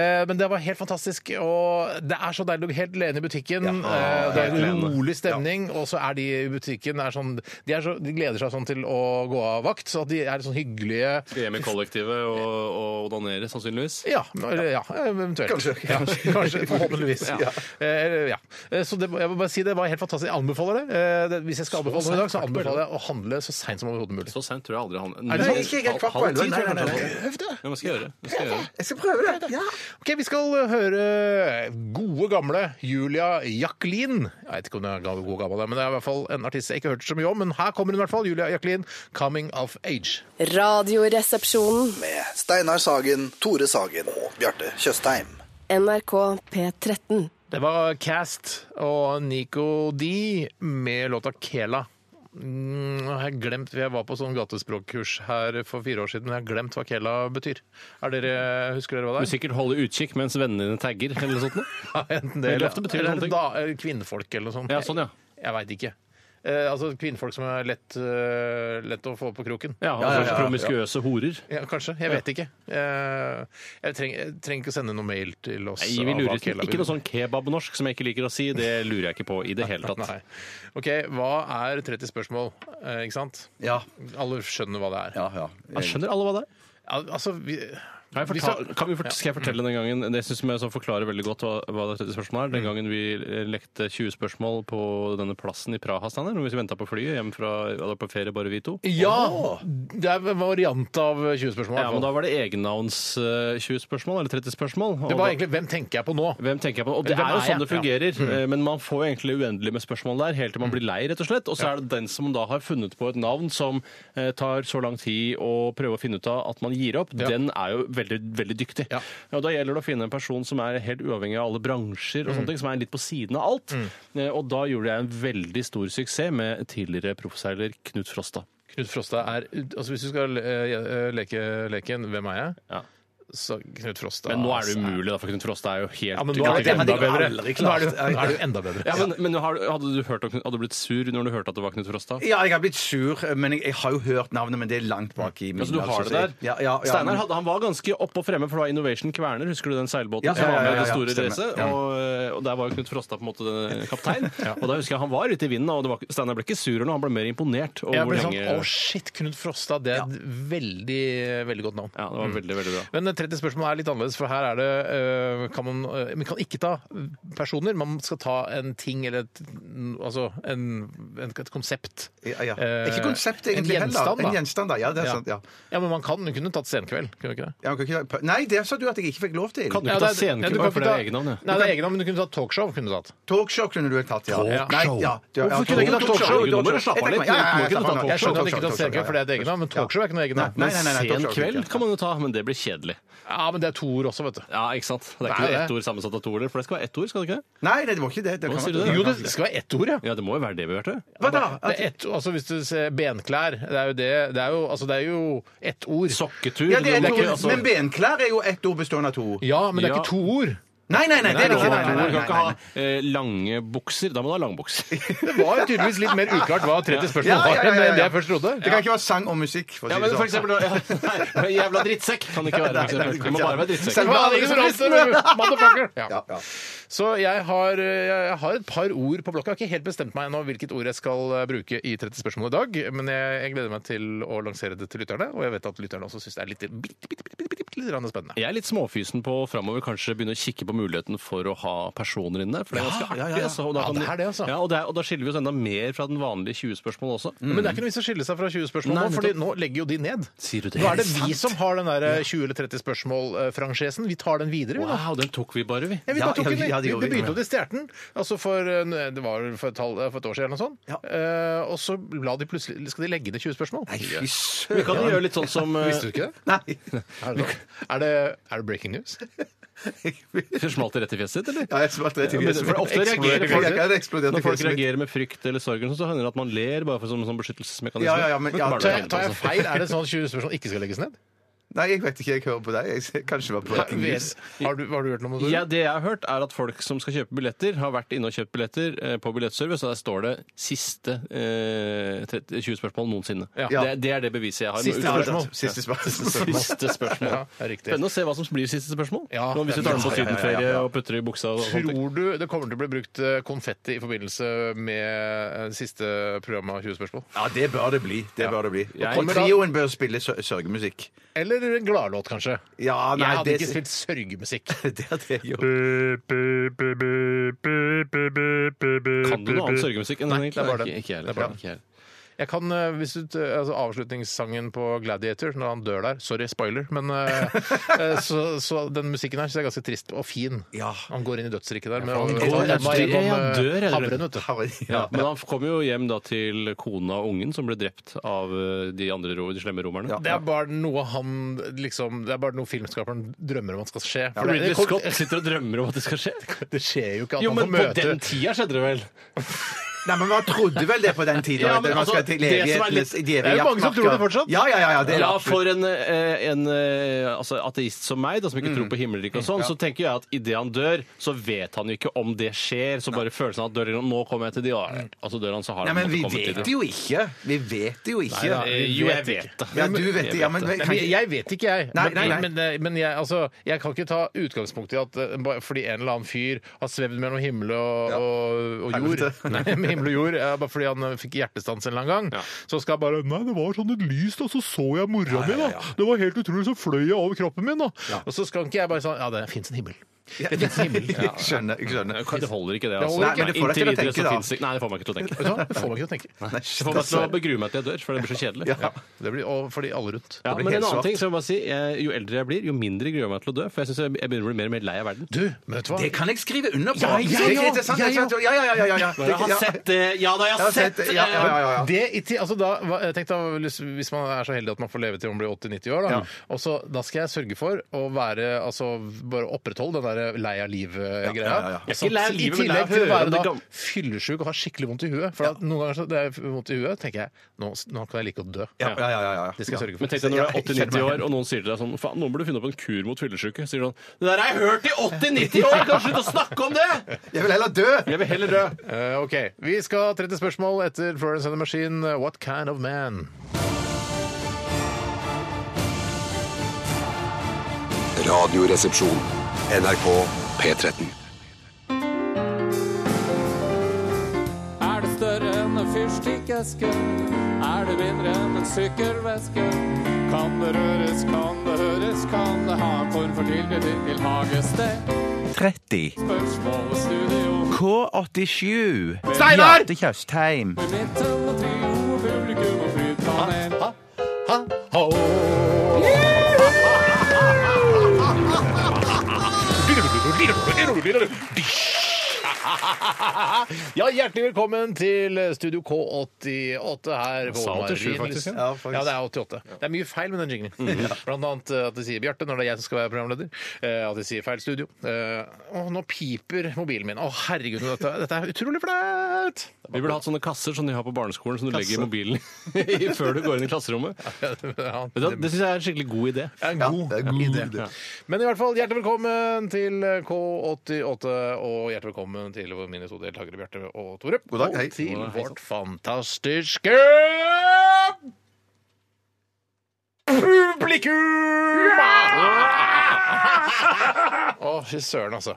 Eh, men det var helt fantastisk. Og det er så deilig å gå helt alene i butikken. eh, det er en alene. rolig stemning. Og så er de i butikken er sånn, de, er så, de gleder seg sånn til å gå av vakt, så at de er sånn hyggelige Hjemme i kollektivet og, og onanere, sannsynligvis. ja, eller, ja, eventuelt. Kanskje. Ja, kanskje forhåpentligvis. Ja. Eh, ja. Eh, Så det, jeg må bare si det var helt fantastisk. Jeg anbefaler det. Eh, det hvis jeg skal anbefale noe i dag, så anbefaler jeg å handle så seint som overhodet mulig. Så sent tror jeg aldri han Er det Nei, ikke helt kvart på Halv- halv ti, elleve. Nei, tror jeg nei, Prøv det. nei, kanskje. Ja, men skal jeg gjøre. det Skal jeg gjøre. Jeg skal prøve det. Ja. Ok, Vi skal eh, høre gode, gamle Julia Jacqueline. Jeg vet ikke om det er gammel- god gammel, men det er i hvert fall en artist jeg ikke har hørt så mye om. Men her kommer hun i hvert fall. Julia Jacqueline, 'Coming of Age'. Radioresepsjonen. med Steinar Sagen, Tore Sagen og Bjarte Tjøstheim. NRK P13. Det var Cast og Nico D med låta 'Kela'. Mm, Jeg har glemt, jeg var på sånn gatespråkkurs her for fire år siden, men jeg har glemt hva Kela betyr. Er dere, husker dere hva Du det er? sikkert holde utkikk mens vennene dine tagger eller noe sånt. nå. Ja, enten Veldig det, eller, ofte betyr det eller sånne ting. da, eller kvinnfolk eller noe sånt. Ja, sånn, ja. Jeg veit ikke. Eh, altså kvinnfolk som er lett, eh, lett å få på kroken. Ja, altså Promiskuøse horer. Ja, kanskje. Jeg vet ikke. Eh, jeg treng- jeg trenger ikke å sende noe mail til oss. Nei, vi av hva lurer Kela Ikke noe sånn kebabnorsk som jeg ikke liker å si. Det lurer jeg ikke på i det hele tatt. Nei. OK, hva er 30 spørsmål? Eh, ikke sant? Ja, Alle skjønner hva det er. ja, ja. Jeg skjønner alle hva det er. Al- Altså, vi, Kan jeg vi fortale, skal- kan vi fort, skal jeg fortelle den gangen Det synes jeg som forklarer veldig godt hva, hva det tredje spørsmålet er. Mm. Den gangen vi eh, lekte 20 spørsmål på denne plassen i Praha, Steinar. Når vi venta på flyet hjem fra eller på ferie, bare vi to. Ja! Det er en variant av 20-spørsmål. Ja, men da var det egennavns-20-spørsmål, eller 30-spørsmål. det var egentlig 'Hvem tenker jeg på nå?' Hvem tenker jeg på? nå? Og det Hvem er jo er jeg? Mm. sånn det fungerer, eh, men man får jo egentlig uendelig med spørsmål der, helt til man blir lei, rett og slett. Og så er det den som da har funnet på et navn som eh, tar så lang tid å prøve å finne ut av at man gir opp, Ja. den er jo veldig, veldig dyktig. Ja. Og da gjelder det å finne en person som er helt uavhengig av alle bransjer Mm. og sånne ting, som er litt på siden av alt. Eh, Og da gjorde jeg en veldig stor suksess med tidligere proffseiler Knut Frosta. Knut Frosta er Altså, hvis du skal eh, leke leken 'Hvem er jeg?', Ja. så Knut Frosta altså. Men nå er det umulig, da, for Knut Frosta er jo helt Ah, Ja, men nå er det Ja, men- enda hadde jeg bedre. Nå aldri er det, klart. nå er det enda bedre. ja, men, men har, du- hadde du hørt om, Knut- hadde du blitt sur når du hørte at det var Knut Frosta? Ja, jeg har blitt sur, men jeg, jeg har jo hørt navnet, men det er langt bak i Altså, du har det altså, der. så jeg- Ja, ja, ja, Steinar men- hadde, han var ganske oppe og fremme, for det var Innovation Kverner, husker du den seilbåten Ja, som ja, ja, var med i ja, det ja, store stemmer. racet? Og, og der var jo Knut Frosta på en måte den kaptein. Og da husker jeg han var ute i vinden, og det var, Steinar ble ikke sur eller noe, han ble mer imponert. over Jeg ble hvor sånn lenge- Å, shit! Knut Frosta, det er et veldig, veldig godt navn. Ja, det var veldig, veldig bra. Mm. Men 30 spørsmål er litt annerledes, for her er det øh, kan man, øh, man kan ikke ta personer, man skal ta en ting eller et, altså en, en, et konsept. Ja, ja. Eh, Ikke konsept egentlig en gjenstand, heller. da. En gjenstand, da. Ja, det er sant. Ja. ja, men man kan, du kunne tatt Senkveld, kunne du ikke det? Ja, man kan ikke ta- Nei, det sa du at jeg ikke fikk lov til. Kan du Ja, ikke det ta er- ja, du sceneklubb, kan for ikke det ta- er egennavn, det. Nei, det er egennavn, men du kunne tatt talkshow. kunne du tatt. Talkshow kunne du tatt, ja. Talkshow? Nei, ja. Du- ja, Hvorfor kunne jeg ikke ta talkshow? Jeg Nå må du tenker slappe av meg- litt. ja, ja, Du må ja, kunne ja, ta talkshow. Jeg skjønner at du ikke tar talkshow, Senkveld, for det er et egennavn, men talkshow er ikke noe egennavn. Nei, nei, nei, nei, Sen talkshow, kveld ikke. kan man jo ta, men det blir kjedelig. Ja, men det er to ord også, vet du. Ja, ikke sant? Det er Nei, ikke noe det- ett ord sammensatt av to ord, for det skal være ett ord, skal det ikke? det? Nei, nei, det var ikke det. det Hva kan sier man- du Jo, det skal være ett ord, ja. Ja, det må jo være det, Bjarte. Hva da? Det er ett, altså hvis du ser benklær, det er jo det, det er jo, altså det er jo ett ord. Sokketur. Ja, det er et det er ikke, ord. altså, Men benklær er jo ett ord bestående av to. Ja, men det er Ja. ikke to ord. Nei, nei, nei, det Nei, er det du ikke. Nei, nei, kan nei, ikke nei, ha nei. eh, lange bukser. Da må du ha langbukser. Det var tydeligvis litt mer uklart hva 30 spørsmål var Ja, ja, ja, ja, ja. enn det jeg først trodde. Det kan ikke være sang og musikk. For å si Ja, det men for sånn. eksempel ja, nei, Jævla drittsekk kan det ikke være. for eksempel. Det må bare være drittsekk. Selv- Hva er det som raster, motherfucker? Ja, Ja. ja. Så jeg har, jeg har et par ord på blokka. Jeg har ikke helt bestemt meg ennå hvilket ord jeg skal eh, bruke i 30 spørsmål i dag, men jeg, jeg gleder meg til å lansere det til lytterne, og jeg vet at lytterne også syns det er litt, bitte, bitte, bitte, bitte, bitte, litt grann spennende. Jeg er litt småfysen på framover kanskje begynne å kikke på muligheten for å ha personer inne. For det er ja, ganske ja, artig. ja. altså, og da Ja, kan det er det, altså. Ja, og, det er, og da skiller vi oss enda mer fra den vanlige 20-spørsmålet også. Mm. Men det er ikke noe vits å skille seg fra 20 spørsmål Nei, nå, fordi nå legger jo de ned. Sier du det? Nå er det Er det vi som har den der 20 eller 30 spørsmål-fransjesen. Vi tar den videre, vi nå. Wow, den tok vi bare, vi. Ja, vi bare Ja, tok ja, den, ja, det vi, gjorde vi vi. begynte å destjerte den. Altså for, eh, det var vel for et, halv, for et år siden eller noe sånt. Ja. Eh, og så la de plutselig, skal de legge ned 20 spørsmål. Fy Vi søren. kan jo gjøre litt sånn som eh, Visste du ikke det? Eh, Nei. Er det, er det breaking news? Det smalt det rett i fjeset ditt, eller? Ja, jeg smalt rett i Ja, men- fjeset. For ofte reagerer Eksploderte. folk, Jeg kan eksplodere når til folk fjeset mitt. reagerer med frykt eller sorg, eller sånn, så hender det at man ler bare for som en sånn beskyttelsesmekanisme. Ja, ja, ja, men- ja, Bare ta- det er helt, Tar jeg altså. feil? Er det sånn at 20 spørsmål ikke skal legges ned? Nei, jeg vet ikke. Jeg hører på deg. Jeg ser- kanskje det var på Breaking News. Har du, har du hørt noe om det? Ja, det jeg har hørt, er at folk som skal kjøpe billetter, har vært inne og kjøpt billetter eh, på Billettservice, og der står det 'siste eh, 30 20 spørsmål noensinne'. Ja. Det, det er det beviset jeg har. Siste Ut- spørsmål. Siste spørsmål. Siste spørsmål. Ja, det er riktig. Spennende å se hva som blir siste spørsmål. Ja, Nå, hvis du tar den ja, ja, på ja, ja. sydenferie og putter det i buksa og sånt. Tror du det kommer til å bli brukt eh, konfetti i forbindelse med eh, siste programmet av 20 spørsmål? Ja, det bør det bli. Det bør det bli. Jeg- Og trioen bør spille sø- sørgemusikk. Eller en gladlåt, kanskje? Ja, nei, jeg hadde det- ikke spilt sørgemusikk. Det er det jo. Kan du noe annet sørgemusikk enn den? Nei, det er bare egentlig? det. Ikke jeg Det er bare det. heller. Ikke jeg heller. Jeg kan, eh, hvis du, t- altså Avslutningssangen på Gladiator, når han dør der Sorry, spoiler. Men eh, eh, så, så den musikken her synes jeg er ganske trist og fin. Ja. Han går inn i dødsriket der. Med, han og- og- går inn i og- dødsriket, og- ja, han dør, eller? havren, vet du. Ja, men han kom jo hjem da til kona og ungen som ble drept av eh, de andre ro- de slemme romerne. Det er bare noe han liksom, Det er bare noe filmskaperen drømmer om at skal skje. For det, Ridley det, kom- Scott sitter og drømmer om at det skal skje. det skjer jo ikke at Jo, han får men på møte den tida skjedde det vel? Nei, men man trodde vel det på den tiden. Ja, at men man skal altså, til det som er evighetenes- litt- de evige Det er jo mange som tror det jaktmarker. fortsatt. Ja, ja, ja. ja, det er Ja, absolutt. for en, eh, en eh, altså, ateist som meg, da, som ikke tror på himmelriket og sånn, så tenker jeg at idet han dør, så vet han jo ikke om det skjer. Så bare følelsen av at dør, nå kommer jeg til de, ja, altså dør han, så har Nei, han men vi måttet komme til vet de. jo ikke. Vi vet jo ikke. Nei, Eh, vi Jo, jeg vet vet det. Ja, du vet det. Ja, men Nei, kan men ikke- jeg vet ikke, jeg. Nei, nei, nei. Men, men, men jeg, altså, jeg kan ikke ta utgangspunkt i at eh, bare fordi en eller annen fyr har svevd mellom himmel og, Ja. og, og jord, Helvete. nei, med himmel og jord eh, bare fordi han eh, fikk hjertestans en eller annen gang, så skal jeg bare Nei, det var sånn et lys, da, så så jeg mora mi, da. Det var helt utrolig, så fløy jeg over kroppen min, da. Og så skal ikke jeg bare sånn Ja, det fins en himmel. Det fins en himmel. Jeg skjønner. Jeg skjønner. Det holder ikke, det. Det altså. holder ikke. Nei, men det får deg til å Inntil videre tenke, så da. finnes det Nei, det får meg ikke til å tenke. Vet du hva? Det får meg ikke til å tenke. Nei, Det får meg til å begrue meg til jeg dør, for det blir så kjedelig. altså. Ja. Det blir, og fordi alle rundt. Ja, blir men en helt annen svart. ting, så må jeg bare si, jeg, Jo eldre jeg blir, jo mindre gruer jeg meg til å dø. For jeg synes jeg, jeg begynner å bli mer og mer lei av verden. Du, men vet du hva? Det kan jeg skrive under på! Ja, ja, ja, Det er interessant, ja, ja. interessant. Ja, ja, ja, ja, ja. Jeg har Ja. sett det! Ja da, jeg Jeg har sett det. det! Ja, ja, ja, ja, ja. Det i ti- altså da, hva- tenk da, hvis- Hvis man er så heldig at man får leve til man blir 80-90 år, da, og så, da skal jeg sørge for å være, altså, bare opprettholde den der lei av livet-greia. ja, ja. Og Jeg er ikke lei av samtidig- livet, I men lei av tillegg til å å høre være da om det gam- fyllesyk og ha skikkelig vondt i huet. For at noen ganger så det er vondt i huet, tenker jeg nå, nå kan jeg like godt dø. Ja, ja, ja, ja, ja. Det skal jeg sørge for. Men tenk deg når du er 80-90 år, og noen sier til deg sånn Faen, nå burde du finne opp en kur mot fyllesyke. Sier du sånn Det der har jeg hørt i 80-90 år! Kan du slutte å snakke om det?! Jeg vil heller dø! Jeg vil heller dø. Eh, ok, Vi skal 30 spørsmål etter Florence and the Machine, What Kind of Man? Radioresepsjon. NRK P13. Er det større enn en fyrstikkeske? Er det mindre enn en sykkelveske? Kan det røres, kan det høres, kan det ha en form for tilknytning til hagested? 30. Spørsmål og studio K87. Steinar! Bjarte Tjøstheim. med midten og trio og publikum og flytpanel. Ah, Ja, Hjertelig velkommen til Studio K88 her på sa 87 Marienlyst. faktisk, Ja, ja. det er 88. Det er mye feil med den jinglen. Blant annet eh, at de sier Bjarte når det er jeg som skal være programleder. eh, At de sier feil studio. Eh, Å, nå piper mobilen min. Å, herregud, dette, dette er utrolig flaut! Vi burde hatt sånne kasser som de har på barneskolen, som du legger i mobilen i før du går inn i klasserommet. Ja, Vet du hva, Det syns jeg er en skikkelig god idé. er en Ja, god, det er en god idé. idé. Men i hvert fall, hjertelig velkommen til K88, og hjertelig velkommen til mine to deltakere, Bjarte og Tore. God dag, hei. Og til God dag, hei. vårt fantastiske publikum! Å, fy søren, altså.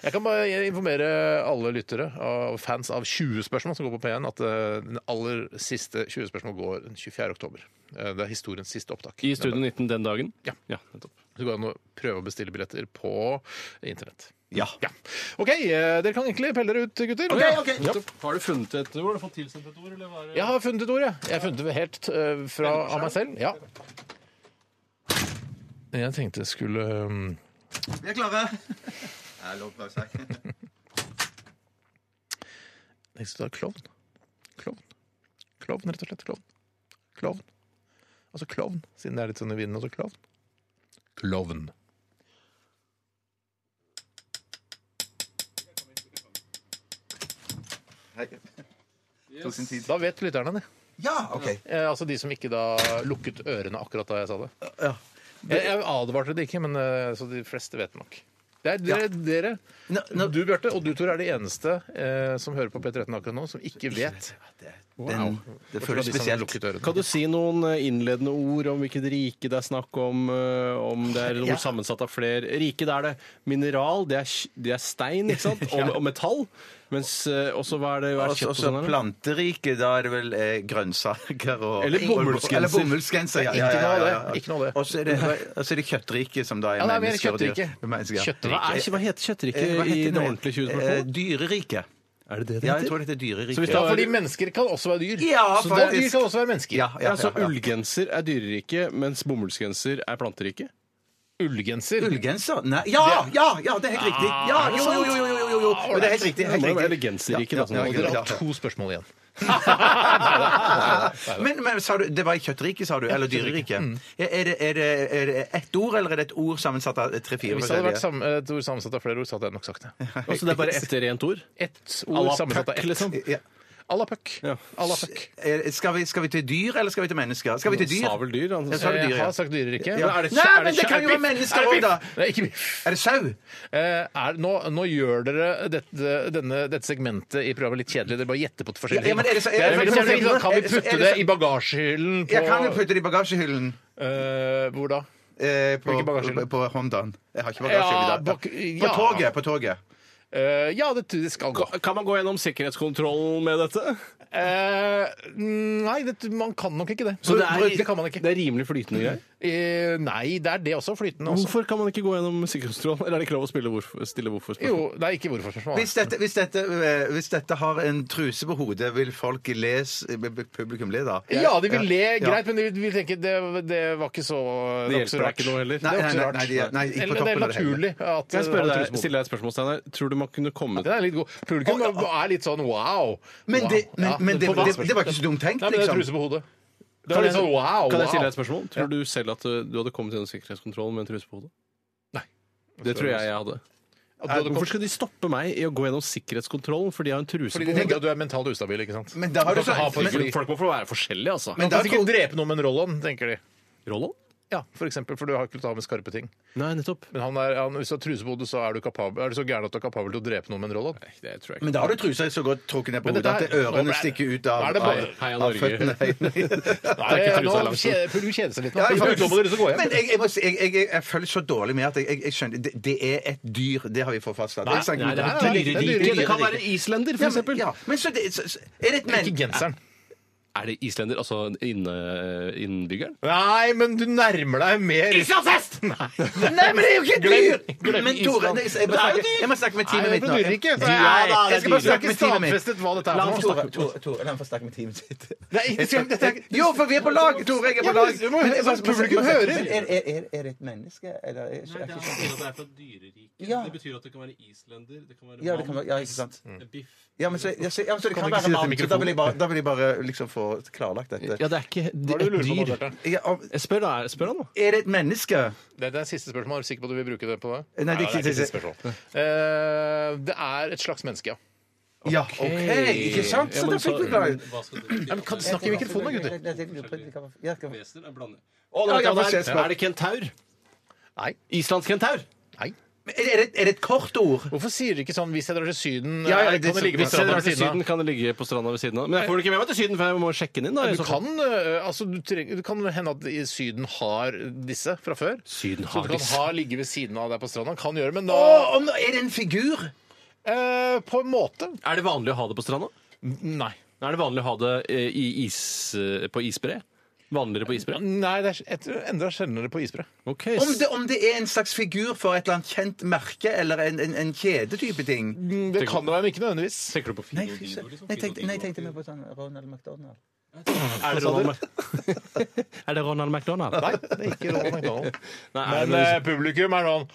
Jeg kan bare informere alle lyttere og fans av 20 spørsmål som går på P1, at eh, den aller siste 20 spørsmål går den 24. oktober. Eh, Det er historiens siste opptak. I Studio 19 den dagen. Ja. nettopp. Så går det an å prøve å bestille billetter på internett. Ja. Ja. OK, eh, dere kan egentlig pelle dere ut, gutter. Ja. Har du funnet et ord? Har du fått tilsendt et ord? Eller var det... Jeg har funnet et ord, jeg. Jeg har funnet det helt eh, fra, av meg selv. Ja. Jeg tenkte jeg skulle um, Vi er klare. Jeg lov til å si. Jeg tenkte å ta klovn. Klovn. Klovn, rett og slett. Klovn. Klovn. Altså klovn, siden det er litt sånn i vinden. Altså klovn. Klovn. Yes. Da vet lytterne det. Ja, OK. Eh, altså de som ikke da lukket ørene akkurat da jeg sa det. Ja. Jeg, jeg advarte det ikke, men eh, så de fleste vet nok. Det er dere, dere Nå- nå- du Bjarte, og du Tor, er de eneste eh, som hører på P13 akkurat nå, som ikke vet. Den, det Bortsett fra føles de som har spesielt. sånn lukket ørene. Kan du si noen eh, innledende ord om hvilket rike det er snakk om? eh, Om det er noe sammensatt av flere Rike, det er det mineral, det er, sk- det er stein ikke sant? Og, og metall. Mens eh, også hva er det hva er Også, kjøtt og også sånn? her, da? planterike, da er det vel eh, grønnsaker og Eller bomullsgenser. Eller bomullsgenser, ja, ja, ja, ja, ja, ja. Ikke noe av det. Og så er det, og så er det kjøttrike, som da er Ja, det er mer mennesker og dyr. kjøttrike. Mennesker. Hva, Kjøttrike. er, hva heter kjøttrike Eh, Hva i heter det det? ordentlige Eh, 20-spørsmålet? Dyrerike. Er det det det Ja, jeg heter? tror det heter dyrerike. Så hvis Ja, da- fordi mennesker kan også være dyr. Ja, så da- dyr faktisk. kan også være mennesker. ja, ja, Ja, så ja, ja. ullgenser er dyrerike, mens bomullsgenser er planterike? Ullgenser. Ullgenser? Nei Ja, ja, ja, det er helt riktig! Ah, Ja, jo, jo, jo, jo, jo, jo, jo. Men Det er helt riktig. Det Helt må jo være riktig. genserrike, da. Ja, Og Sånn. ja, dere ja. har to spørsmål igjen. Men, men sa du, det var i kjøttriket, sa du? Eller dyreriket? Mm. Er, er, det- er, det- er det ett ord, eller er det et ord sammensatt av tre-fire Hvis det hadde vært sam et ord sammensatt av flere ord, så hadde jeg nok sagt det. Altså, det er bare ett rent ord? Ett À ord la sammensatt av puck, ett. liksom. Ja. À la puck. Ja. À la puck. Er- Skal vi, skal vi til dyr, eller skal vi til mennesker? Skal vi til dyr? Sa vel dyr? Han, Ja, sa vel dyr, Jeg ja. har sagt dyrerike. Ja. Er Nei, er men det kan jo er være mennesker er det også, da. biff? Nei, ikke biff. Er det sau? Eh, er, nå, nå gjør dere dette, denne, dette segmentet i programmet litt kjedelig. Dere bare gjetter på forskjellige Ja, ja, men er det så- er det Jeg vil ikke så- er det så- si, Kan er vi det så- putte er det det så- i bagasjehyllen på Jeg kan jo putte det i bagasjehyllen. Eh, Hvor da? Eh, på, Hvilken bagasjehylle? på, på Hondaen. Jeg har ikke bagasjehylle Ja, i dag. bak- ja. På toget. på toget. Eh, ja, det, det skal gå. Kan man gå gjennom sikkerhetskontrollen med dette? Eh, nei, det, man kan nok ikke det. det, er, det kan man ikke. det er rimelig flytende greier? Eh, nei, det er det også. Flytende også. Hvorfor kan man ikke gå gjennom sikkerhetskontrollen? Eller er det krav å spille hvorfor, stille hvorfor? Jo, det er ikke hvorfor-spørsmål. Hvis dette, hvis, dette, eh, hvis dette har en truse på hodet, vil folk les Publikum le, da? Ja, de vil le, Ja. greit, men de vil- vil tenke det, det var ikke så var Det ikke så hjelper rart. deg ikke noe heller. Det er Nei, ikke så nei, rart. nei, de- nei, ikke på Eller det er toppen av det hele. naturlig at uh, Kan jeg spørre at- deg, stille deg et spørsmål, Steinar? Tror du man kunne kommet Den er litt god. Publikum er litt sånn wow. Men, det, Wow. men, Ja, men det, får det, vanskelig. det var ikke så dumt tenkt, Nei, men det er liksom. truse på hodet. Det var litt sånn wow, Kan jeg stille wow. deg et spørsmål? Tror du selv at uh, du hadde kommet gjennom sikkerhetskontrollen med en truse på hodet? Nei. Det tror jeg jeg hadde. At du hadde Hvorfor kommet- skal de stoppe meg i å gå gjennom sikkerhetskontrollen fordi jeg har en truse Fordi på de hodet? tenker at du er mentalt ustabil, ikke sant? Men da har Du du kan ikke ha så på deg fly. Folk må få være forskjellige, altså. Men Du kan da- sikkert drepe noen med en roll-on, tenker de. Roland? Ja, for eksempel, for du har ikke lov til å ha med skarpe ting. Nei, nettopp. Men han er, han, hvis du har truse på hodet, så er du, kapabel, er du så gæren at du er kapabel til å drepe noen med en roll-on. Det tror jeg ikke. Men da har du trusa så godt trukket ned på Men hodet dette at er- Nå ble ørene det- stikker ut Nå er av, det av, bare- Heia av Norge. føttene. Nei, er ikke trusa nå langt. kje- Publikum kjeder seg litt nå. Ja, Hvis du faktisk. ikke lover dere, så går jeg. Men jeg, jeg, må si, jeg, jeg, jeg føler så dårlig med at jeg, jeg, jeg skjønner det, det er et dyr. Det har vi fått fastsatt. Det er sant. Nei, det Nei, er nei, det er dyrerike. dyrerike. Det kan være islender, Ja, for men, eksempel. ja. men så, det, så, så er det et Ikke menneske genseren. Er det islender, altså inne, innbyggeren? Nei, men du nærmer deg mer Islandshest! Nei, men det er jo ikke et dyr! Glem- glem Men Tore, Island. jeg, jeg, må snakke, jeg må snakke med Nei, det teamet mitt er nå. på dyreriket. så Ja, da, Jeg det er jeg skal bare snakke dyreriket. med stadfestet hva dette er La for meg noe. snakke, Tore, Tore, la meg få snakke med teamet sitt. Nei, det skal- dette er- Jo, for vi er på lag! Tore, jeg er Ja, på lag. men du må- Men jeg må- så publikum men- men- hører. men Er, er, er, er det et menneske? Eller, er, er, ikke sånn. Altså, Det er fra dyreriket. Ja. Det betyr at det kan være islender, det kan være Ja, det kan være, ja, ikke sant. biff. Ja, men så, ja, så, ja, men så det Kan kan du ikke være si dette i mann, så da mikrofonen? vil jeg bare, da vil jeg bare liksom få klarlagt dette. Ja, det er ikke det Hva er det er du lurer på nå, dyr. Bjarte? Ja, om- Jeg spør, da, jeg spør han, da. er det et menneske? Det er det siste spørsmål. Er du sikker på at du vil bruke det på det? Nei, det er ikke- siste spørsmål. Eh, Det er et slags menneske, ja. Ja, OK! Ikke sant? Ja, Så da men fikk vi klar Hva skal det Nei, men Kan du snakke i mikrofonen, da, gutter? gutter? Vesener er blande. Å, det Ja, ja, vet jeg hva det hva er. skjer? Er det kentaur? Nei. Islandsk kentaur? Nei. Er det, er det et kort ord? Hvorfor sier dere ikke sånn 'hvis jeg drar til Syden', Ja, ja, eh, kan det- det ligge på sånn- Hvis jeg stranda drar ved til siden Syden, av? kan det ligge på stranda ved siden av. Men jeg får det ikke med meg til Syden, for jeg må sjekke den inn. da. i Du så fall. kan, eh, altså, du trenger, det kan hende at i Syden har disse fra før. Syden Så har du kan disse. ha ligge ved siden av deg på stranda. Kan gjøre det, men Å, da om, er det en figur? eh, På en måte. Er det vanlig å ha det på stranda? Nei. Er det vanlig å ha det eh, i is, eh, på isbre? Vanligere på isbre? Nei, det er jeg endra sjeldnere på isbre. Ok, Om det, om det er en slags figur for et eller annet kjent merke eller en, en, en kjedetype ting? Det kan det være, men ikke nødvendigvis. Tenker du på Nei, Fido? fy søren. Nei, jeg tenkte- nei, jeg tenkte mer på sånn Ronald McDonald. Er det Ronald, Mac- er det Ronald McDonald? Nei, det er ikke Ronald McDonald. Nei, er Men det eh, publikum er sånn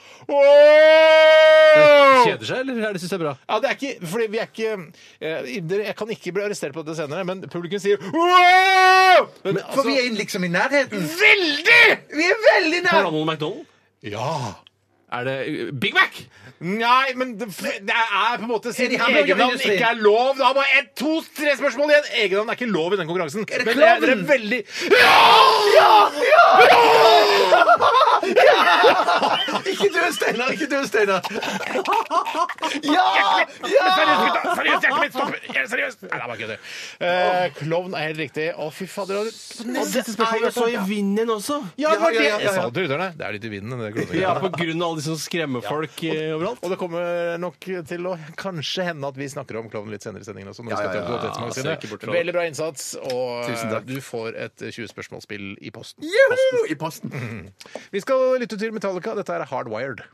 Åh! Kjeder seg, eller er det synes det er bra? Ja, det er ikke, fordi vi er ikke eh, dere- Jeg kan ikke bli arrestert på dette senere, men publikum sier Åh! Men, For altså, vi er liksom i nærheten. Veldig! Vi er veldig nær! Ronald McDonald? Ja. Er eh, det Big Mac? Nei, men det, det er på en måte Siden Er de hamburgerindustrien? egennavn ikke er lov Da har bare ett, to, tre spørsmål igjen! Egennavn er ikke lov i den konkurransen. det men dere- dere klovn? er veldig ja! Ikke dø, Steinar! Ikke dø, Steinar! Seriøst, gutta! Seriøst, hjertet mitt stopper! Ja, Seriøst! Nei, det er bare kødder. Eh, Klovn er helt riktig. Å, fy fader. og- Og dette spørsmålet er i vinden også. Ja, det var det! Ja, ja, ja, ja. Jeg sa det til lytterne. Det er litt i vinden. Det er Ja, på grunn av alle de som skremmer folk eh, overalt. Og det kommer nok til å kanskje hende at vi snakker om klovn litt senere i sendingen også. Når vi skal ja, til ja. Aktualitetsmagasinet. Ja, ser ikke bort fra det. Veldig bra innsats, og Tusen takk. du får et 20-spørsmålsspill i posten. Juhu! I posten. Vi skal lytte til Metallica. Dette er Hardwired.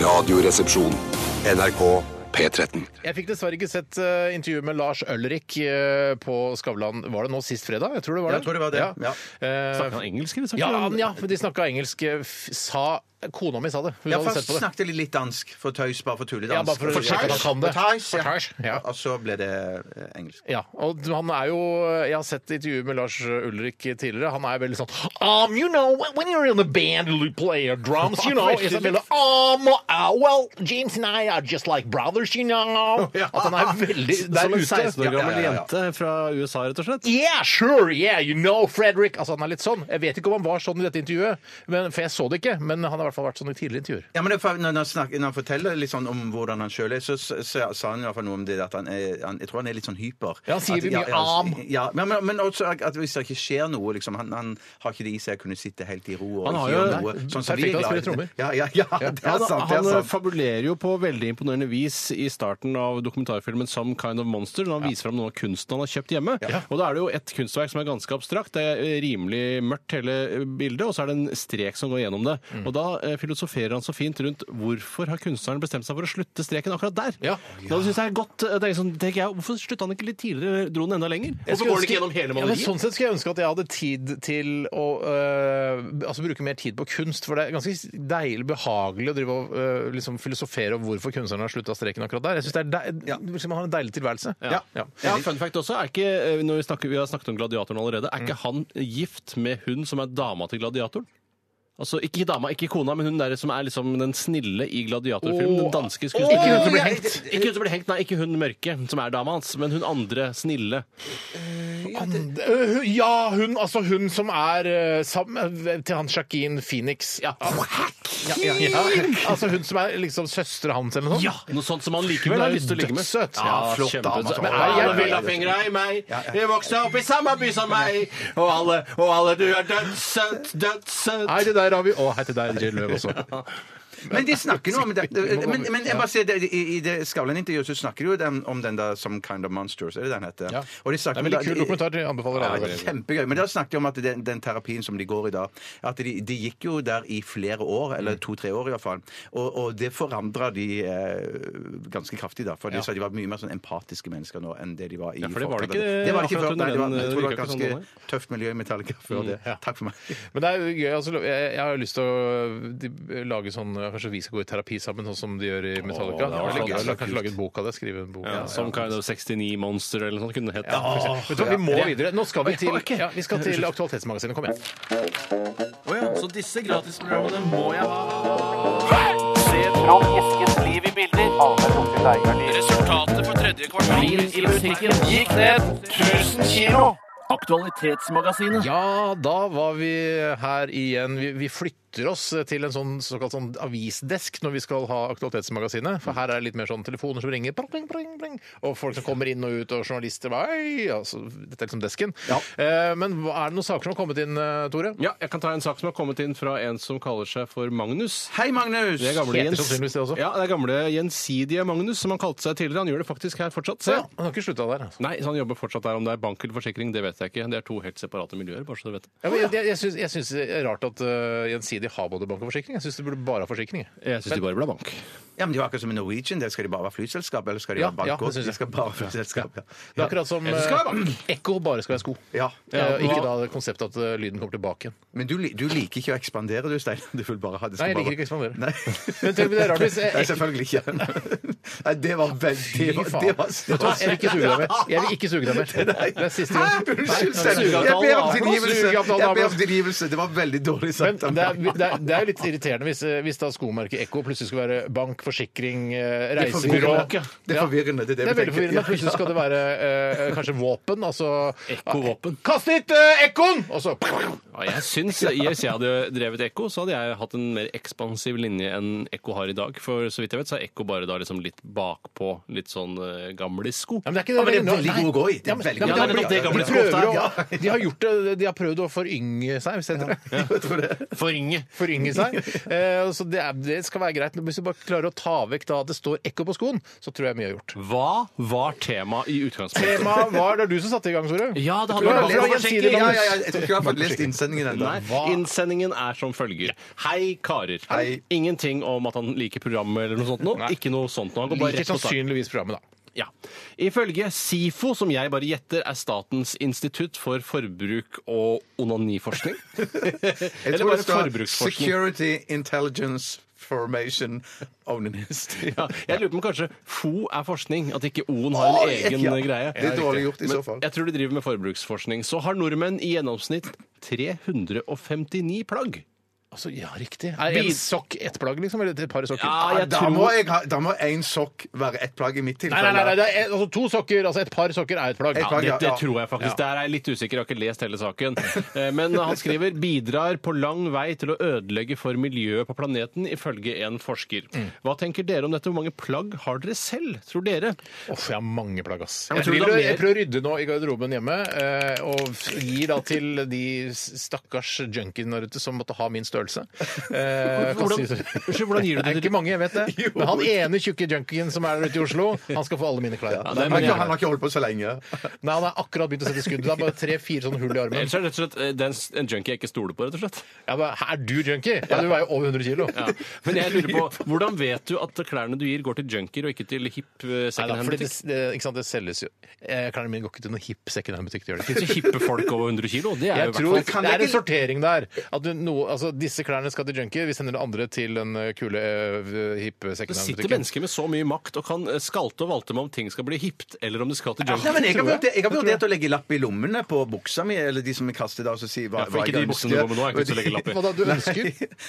Radioresepsjon. NRK P13. Jeg fikk dessverre ikke sett eh, intervjuet med Lars Ulrik eh, på Skavlan. Var det nå sist fredag? Jeg tror det var det. Jeg tror det var det, ja. Eh, Snakker han engelsk, eller? ja, snakker han- han- ja, for de snakka engelsk. eh, f- Sa Kona mi sa det. Hun Ja, hadde sett først på det. snakket jeg litt dansk for tøys, bare for tulledansk. Ja, bare for å sjekke at han kan det. For tøys, ja. For tøys, ja. Og så ble det eh, engelsk. Ja, og han er jo eh, Jeg har sett intervjuer med Lars Ulrik tidligere. Han er veldig sånn um, You know, when you're in a band, you play your drums, you know. It's a little, um, uh, well, James and I are just like brothers, you know. At han er veldig der Som en ute. 16 år Ja, ja, ja, gammel ja. jente fra USA, rett og slett. Yeah, sure, yeah, you know, Frederick. Altså, han er litt sånn. Jeg vet ikke om han var sånn i dette intervjuet, men, for jeg så det ikke. Men han har i hvert fall vært sånn i tidligere intervjuer. Ja, men det, er for- når, han snakker, når han forteller litt sånn om hvordan han sjøl er, så, så, så sa han i hvert fall noe om det at han er han, Jeg tror han er litt sånn hyper. Ja, han sier At- mye ja, am. Ja, men, men, men også at hvis det ikke skjer noe, liksom Han, han har ikke det i seg å kunne sitte helt i ro og Han har ikke jo- gjøre noe. Sånn som vi perfekt til å er glad i. spille trommer. Ja, ja, ja, det er sant. han, Det han eh, er sant. fabulerer jo på veldig imponerende vis i starten av dokumentarfilmen 'Some Kind of Monster', når han viser fram noe av kunsten han har kjøpt hjemme. Og da er det jo et kunstverk som er ganske abstrakt. Det er eh, rimelig mørkt hele eh, bildet, og så er det en strek som går gjennom det. Og da eh, filosoferer han så fint rundt hvorfor har kunstneren bestemt seg for å slutte streken akkurat der? Ja. Da synes jeg er godt, eh, det er liksom, tenker jeg, Hvorfor slutta han ikke litt tidligere? Dro den enda lenger? Hvorfor går den ikke gjennom hele Ja, men maleriet? sånn sett skulle jeg ønske at jeg hadde tid til å øh, altså bruke mer tid på kunst, for det er ganske deilig behagelig å drive og øh, liksom filosofere om hvorfor kunstnerne har slutta streken akkurat der. Jeg synes det er deil, liksom, Man har en deilig tilværelse. Ja. Ja. Fun fact også, er ikke, eh, når vi, snakker, vi har snakket om gladiatoren allerede, er Mm. ikke han gift med hun som er dama til gladiatoren? Altså, Ikke dama, ikke kona, men hun der som er liksom den snille i gladiatorfilmen. Den danske skuespilleren. Ikke hun som blir ja, hengt. det- Ikke hun som blir hengt, nei, ikke hun mørke, som er dama hans, men hun andre snille. And- øh, Ja, hun, altså hun som er øh, sammen med- til han Shaquin Phoenix. Ja. Ja, ja. Altså hun som er liksom søstera hans eller noe sånt. Noe sånt som han Hun likevel er har jo lyst til å ligge med. dødssøt. Ja, flott dame, altså. kjempesøt. Men Ja, ja, ja, ja, alle vil ja. ha fingra i meg, jeg vokste opp i samme by som meg, og alle, og alle du er dødssøt, dødssøt. Nei, det der har vi Å, hei til deg, Jill Løv også. Men de snakker noe om det. Men, men jeg bare sier, det, i, i det Skavlan-intervjuet så snakker de jo dem, om den der Some Kind of Monsters, er det den heter? Ja. Og de snakker- Det er veldig kul dokumentar, jeg anbefaler alle å Ja, være med. kjempegøy. Men da snakket de om at den, den terapien som de går i da, at de, de gikk jo der i flere år, Mm. eller to-tre år i hvert fall, og, og det forandret de eh, ganske kraftig da, for de sa de var mye mer sånn empatiske mennesker nå enn det de var i Ja, for det var det forkant. ikke det var ikke akkurat før, nei, det var, under den, jeg tror det var virket ganske ikke sånn tøft miljø i Metallica Mm, før det. Takk for meg. Men det er jo gøy. Altså, jeg, jeg har lyst til å de, lage sånn Kanskje vi skal gå i terapi sammen, sånn som de gjør i Metallica. Åh, det var Eller så- gøy, det eller kanskje lage en bok av det. Skrive en bok. Ja, Some kind of 69 monster eller noe sånt kunne det hett. For eksempel. Vet du hva, vi må videre. Nå skal vi til, Ja, ok. ja, vi skal til Aktualitetsmagasinet. Kom igjen. Så disse gratisprogrammene må jeg ha. Resultatet på tredje kvartal i musikken gikk ned 1000 kilo. Aktualitetsmagasinet. Ja, da var vi her igjen. Vi, vi flytter oss til en sånn såkalt sånn avisdesk når vi skal ha Aktualitetsmagasinet. For her er det litt mer sånn telefoner som ringer, pling, pling, pling, pling, og folk som kommer inn og ut, og journalister bare, «Hei!» altså, Dette er liksom desken. Eh, men hva- er det noen saker som har kommet inn, eh, Tore? Ja, jeg kan ta en sak som har kommet inn fra en som kaller seg for Magnus. Hei Magnus! Det er gamle, Heter Jens- sannsynligvis det også. Ja, det er gamle gjensidige Magnus, som han kalte seg tidligere. Han gjør det faktisk her fortsatt. Se. Ja, han har ikke slutta der. Altså. Nei, så han jobber fortsatt der. Om det er bank eller forsikring, det vet jeg ikke. Det er to helt separate miljøer, bare så du vet det. Jeg, jeg, jeg, syns, jeg syns det er rart at uh, Gjensidige de ha både bank og forsikring? Jeg syns de burde bare ha forsikring. jeg. Jeg syns de bare blir bank. Ja, men det er jo akkurat som i Norwegian. Der skal de bare være flyselskap, eller skal de Ja, ha bank ja, det også? synes De jeg. skal bare være flyselskap, ja. Det er akkurat som Jeg synes det skal være bank. eh, Ekko bare skal være sko. Ja. Eh, ikke hva- da det konseptet at eh, lyden kommer tilbake igjen. Men du, li- du liker ikke å ekspandere, du, Stein. Du vil bare ha det Nei, jeg skal liker ikke å ekspandere. Nei. Men tenk, men det er rart hvis jeg- Nei, selvfølgelig ikke. Nei, det var veldig Fy faen. Det var Vet du hva, jeg vil ikke suge deg mer. Jeg vil ikke suge deg mer. Det er siste Hæ? gang. Unnskyld, Nei, Stein. suge Jeg ber om avtale. tilgivelse. Suge avtale, Jeg ber om avtale. tilgivelse. Det var veldig dårlig Men sagt. av det er, meg. det, er, det er jo litt irriterende hvis, eh, hvis da skomerket Ekko plutselig skulle være bank, forsikring, eh, Det er reisebyrå. forvirrende. Det er forvirrende. Det er, Det det er veldig vi tenker. forvirrende. Plutselig skal det være eh, kanskje våpen. Altså Ekkovåpen. Kast hit eh, ekkoen! Og så Ja, jeg syns, Hvis jeg hadde drevet Ekko, så hadde jeg hatt en mer ekspansiv linje enn Ekko har i dag. For så vidt jeg vet, så er Ekko bare da liksom litt bakpå, litt sånn eh, gamle sko. Ja, men det er ikke Ja, men det er Nå- veldig nei. god å gå i. Det er Ja, men- veldig ja, men god å gå i. det er Ja, blitt- det De er blitt- prøver Ja. å De har gjort det De har prøvd å forynge seg, hvis det heter det. Jeg tror det. Forringe. Forynge seg. Eh, så det, er, det skal være greit. Men hvis du bare klarer å ta vekk da at det står ekko på skoen, så tror jeg mye er gjort. Hva var temaet i utgangspunktet? Temaet var Det er du som satte i gang, Tore. Ja, det Du hadde har vært lest bank og gjensidig forsikring. Ja, ja, ja, jeg tror ikke jeg har fått lest innsendingen ennå. Nei, Innsendingen er som følger. Hei, karer. Hei. Ingenting om at han liker programmet eller noe sånt. Nå. Ikke noe sånt. Nå. Han går bare Liker rett på sak. sannsynligvis programmet, da. Ja. Ifølge SIFO, som jeg bare gjetter, er Statens institutt for forbruk og onaniforskning. Jeg tror det Eller bare står forbruksforskning. Security Intelligence Formation Onanist. Ja, jeg lurer på om kanskje FO er forskning, at ikke O-en har en Å, egen ja. greie. Det er dårlig gjort i så fall. Men jeg tror de driver med forbruksforskning. Så har nordmenn i gjennomsnitt 359 plagg. Altså, ja, riktig. Er en Bil- sokk ett plagg, liksom? Eller et par sokker? Ja, jeg Da tror- må jeg ha, da må én sokk være ett plagg i mitt Nei, nei, tilfelle. nei, nei, det er, altså to sokker, altså et par sokker er et plagg. Et Ja, plagg, det, det ja. tror jeg faktisk. Der er jeg litt usikker, jeg har ikke lest hele saken. Eh, Men han skriver 'bidrar på lang vei til å ødelegge for miljøet på planeten', ifølge en forsker. Hva tenker dere om dette? Hvor mange plagg har dere selv, tror dere? Uff, jeg har mange plagg, ass. Ja, men Jeg tror du driver- det er mer- jeg prøver å rydde nå i garderoben hjemme, eh, og gir da til de stakkars junkiene der ute som måtte ha min størrelse. Eh, Hvordan- kan si- Unnskyld, hvordan gir du det Det er til- ikke mange, jeg vet det. Men han ene tjukke junkien som er der ute i Oslo, han skal få alle mine klær. det er Han har ikke- han har ikke holdt på så lenge. Nei, han har akkurat begynt å sette skudd. Det er bare tre-fire sånne hull i armen. Ellers er det rett og slett eh, det er en s- en junkie jeg ikke stoler på, rett og slett. Jeg bare, er du junkie? Ja, du veier over 100 kilo. Ja. Men jeg lurer på, hvordan vet du at klærne du gir, går til junkier og ikke til hipp Nei, eh, da, fordi det, secondhand-butikk? det, ikke sant, det selges jo eh, Klærne mine går ikke til noen hipp secondhand-butikk. Det gjør det Det ikke. finnes jo hippe folk over 100 kilo. Det er Jeg jo i hvert tror fall- Det er en sortering der. At du, noe- altså, disse klærne skal til junkie, vi sender det andre til den eh, kule, eh, hippe Det sitter secondhand-butikken. mennesker med så mye makt og kan eh, skalte og valte med om ting skal bli hipt, eller om det skal til Nei, men junkier. jeg har vurdert, jeg har vurdert å legge lapp i lommene på buksa mi, eller de som jeg kaster da, og så sier hva, Ja, for hva ikke de jeg buksene du går med nå, er ikke så å legge lapp i. Hva da, du ønsker?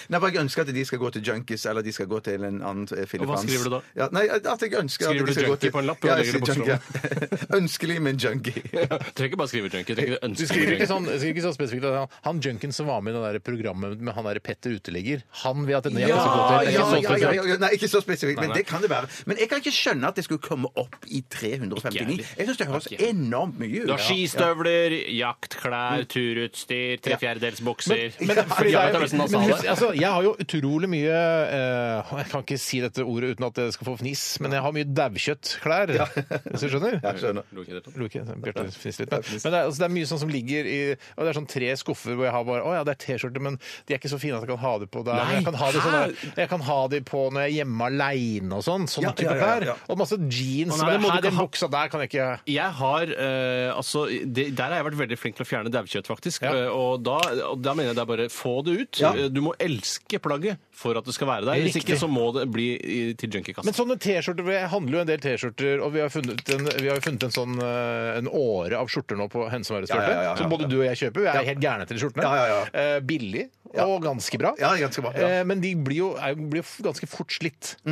Nei, bare jeg ønsker at de skal gå til junkies, eller de skal gå til en annen eh, Og hva filipans. skriver du da? Ja, nei, at jeg ønsker Skriver at du de skal gå junkie til... på en lapp, og Ja, legger jeg det på sier junkie. Ønskelig, men junkie. Du trenger ikke bare skrive junkie. Du trenger ikke Du ønske skriver ikke junkie. sånn, du skriver ikke så spesifikt at han, han junkien som var med i det der programmet med han der Petter uteligger, han vil at denne gjengen skal gå Ja, til. Det er ja, ikke så ja, ja, spesifikt. ja. Nei, ikke så spesifikt, men det kan det være. Men jeg kan ikke skjønne at det skulle komme opp i 359. heller. Jeg syns det høres Ikke heller. enormt mye ut. Du har skistøvler, jaktklær, turutstyr, tre fjerdedels bukser Men, fordi det er, men husk, altså, jeg har jo utrolig mye eh, Jeg kan ikke si dette ordet uten at det skal få fnis, men jeg har mye daukjøttklær. Hvis du skjønner? Ja, skjønner. Lo ikke, så Bjarte fniser litt. Men, men det, er, altså, det er mye sånn som ligger i og Det er sånn tre skuffer hvor jeg har bare Å ja, det er T-skjorter, men de er ikke så fine at jeg kan ha de på der. Nei, jeg, kan ha de sånn hæ? der jeg kan ha de på når jeg er hjemme aleine og sånn. Sånne Ja, type ja, ja, klær. ja. Og masse jeans. Å, nei, det må Her, du ikke den ha. buksa der kan jeg ikke Jeg har, eh, altså, det, Der har jeg vært veldig flink til å fjerne daukjøtt, faktisk. Eh, og, da, og da mener jeg det er bare få det ut. Ja. Eh, Du må elske plagget for at det skal være der. Hvis Riktig. ikke så må det bli i- til junkiekassa. Men sånne T-skjorter, Jeg handler jo en del T-skjorter, og vi har funnet en, vi har jo funnet en sånn eh, en åre av skjorter nå på Henne som er Ja, ja, ja, ja. som både du og jeg kjøper. Vi er helt gærne til de skjortene. Ja, ja, ja. Eh, billig og ganske bra. Ja, ganske bra, ja. Mm. Eh, men de blir jo, er, jo- blir jo ganske fort slitt. Eh,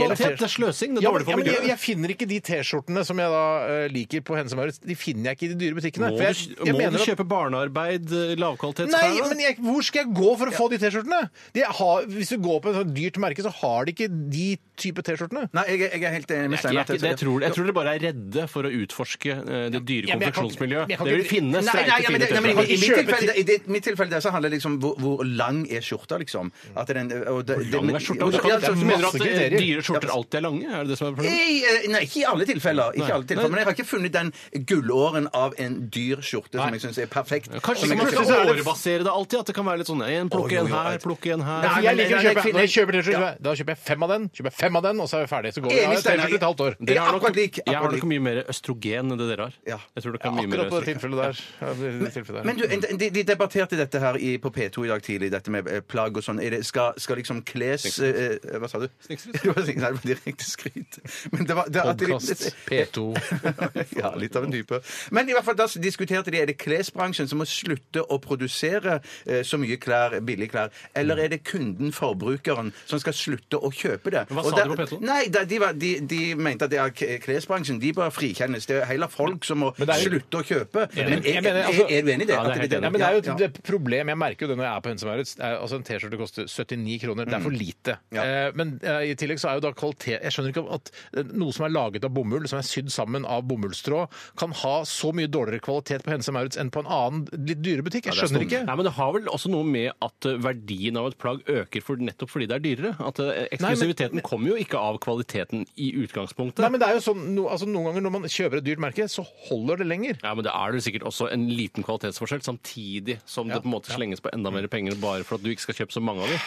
gjelder kvalitet, T-skjorter. det er sløsing, det er Ja, men, dårlig ja, for men jeg, miljøet. jeg finner ikke de T-skjortene som jeg da eh, liker på Henne som Maurits. De finner jeg ikke i de dyre butikkene. Må for jeg, du, jeg må mener du at- kjøpe barnearbeid, eh, lavkvalitetsklær? Nei, da? men jeg, hvor skal jeg gå for å få de T-skjortene? De har- Hvis du går på et sånt dyrt merke, så har de ikke de type T-skjortene. Nei, jeg, er- jeg er helt enig med Jeg, er Steinar. ikke, det, jeg, tror, jeg tror dere bare er redde for å utforske eh, det dyre Ja, men jeg kan ikke- konfeksjonsmiljøet. jeg kan Dere vil ikke- finne Nei, nei, streite, ja, men, fine det, nei, men i, i, T-skjorter. mitt tilfelle, I det- mitt tilfelle der så handler det liksom om hvor, hvor lang er skjorta, liksom. At den, og det, det, Lange skjorter. Du kan- Ja, altså, Du mener at masse eh, kriterier. dyre skjorter alltid er lange? Er det det som er problemet? Nei, eh, nei, ikke i alle tilfeller. Ikke i alle tilfeller Men jeg har ikke funnet den gullåren av en dyr skjorte som jeg syns er perfekt. Kanskje Som man jeg kan skal kjøpe. årebasere det alltid? At det kan være litt sånn en, plukke en her, plukke en her. Nei, jeg men- liker å nei, kjøpe Når jeg jeg kjøper finner- T-skjorte, da kjøper jeg fem av den, kjøper jeg fem av den, og så er vi ferdige. Så går vi Enig, Jeg har Steinar. T-skjorte et halvt år. Det Dere er har nok, akkurat lik, jeg har akkurat nok lik. mye mer østrogen enn det dere har. Ja. Jeg tror dere har mye mer Akkurat på det østrogen. tilfellet der. Ja, det- det tilfellet Men der. du, en- de, de debatterte dette her i, på P2 i dag tidlig, dette med eh, plagg og sånn. Er det- Skal, skal liksom kles eh, eh, Hva sa du? Snikskryt. Det var snik- Nei, det var direkte skryt. Men det var det, at de- Podkast P2. ja, litt av en type. Men i hvert fall da diskuterte de er det klesbransjen som må slutte å produsere eh, så mye klær, billige klær, Mm. eller er det kunden, forbrukeren, som skal slutte å kjøpe det? Hva Og sa der- du på P2? Nei, da, de, var, de, de mente at det er k- klesbransjen. De bør frikjennes. Det er heller folk som må Men det er jo- slutte å kjøpe. Men er, Jeg mener, er, altså- er du enig i det? Ja, det er At helt det- Ja, men det er jo et ja, det er et problem. Jeg merker jo det når jeg er på Hønsemauret. Altså en T-skjorte koster 79 kroner. Det er for lite. Mm. Ja. Eh, men eh, i tillegg så er jo da kvalitet Jeg skjønner ikke at eh, noe som er laget av bomull, som er sydd sammen av bomullstråd, kan ha så mye dårligere kvalitet på Hønsemauret enn på en annen litt dyre butikk. Jeg skjønner ikke. Nei, men Det har vel også noe med at eh, verdien av et plagg øker for, nettopp fordi det er dyrere. At eh, Eksklusiviteten kommer jo ikke av kvaliteten i utgangspunktet. Nei, men det er jo sånn, no, altså Noen ganger når man kjøper et dyrt merke, så holder det lenger. ja, men Det er jo sikkert også en liten kvalitetsforskjell, samtidig som det på en måte slenges på enda mer penger bare for at du ikke skal kjøpe så mange av dem.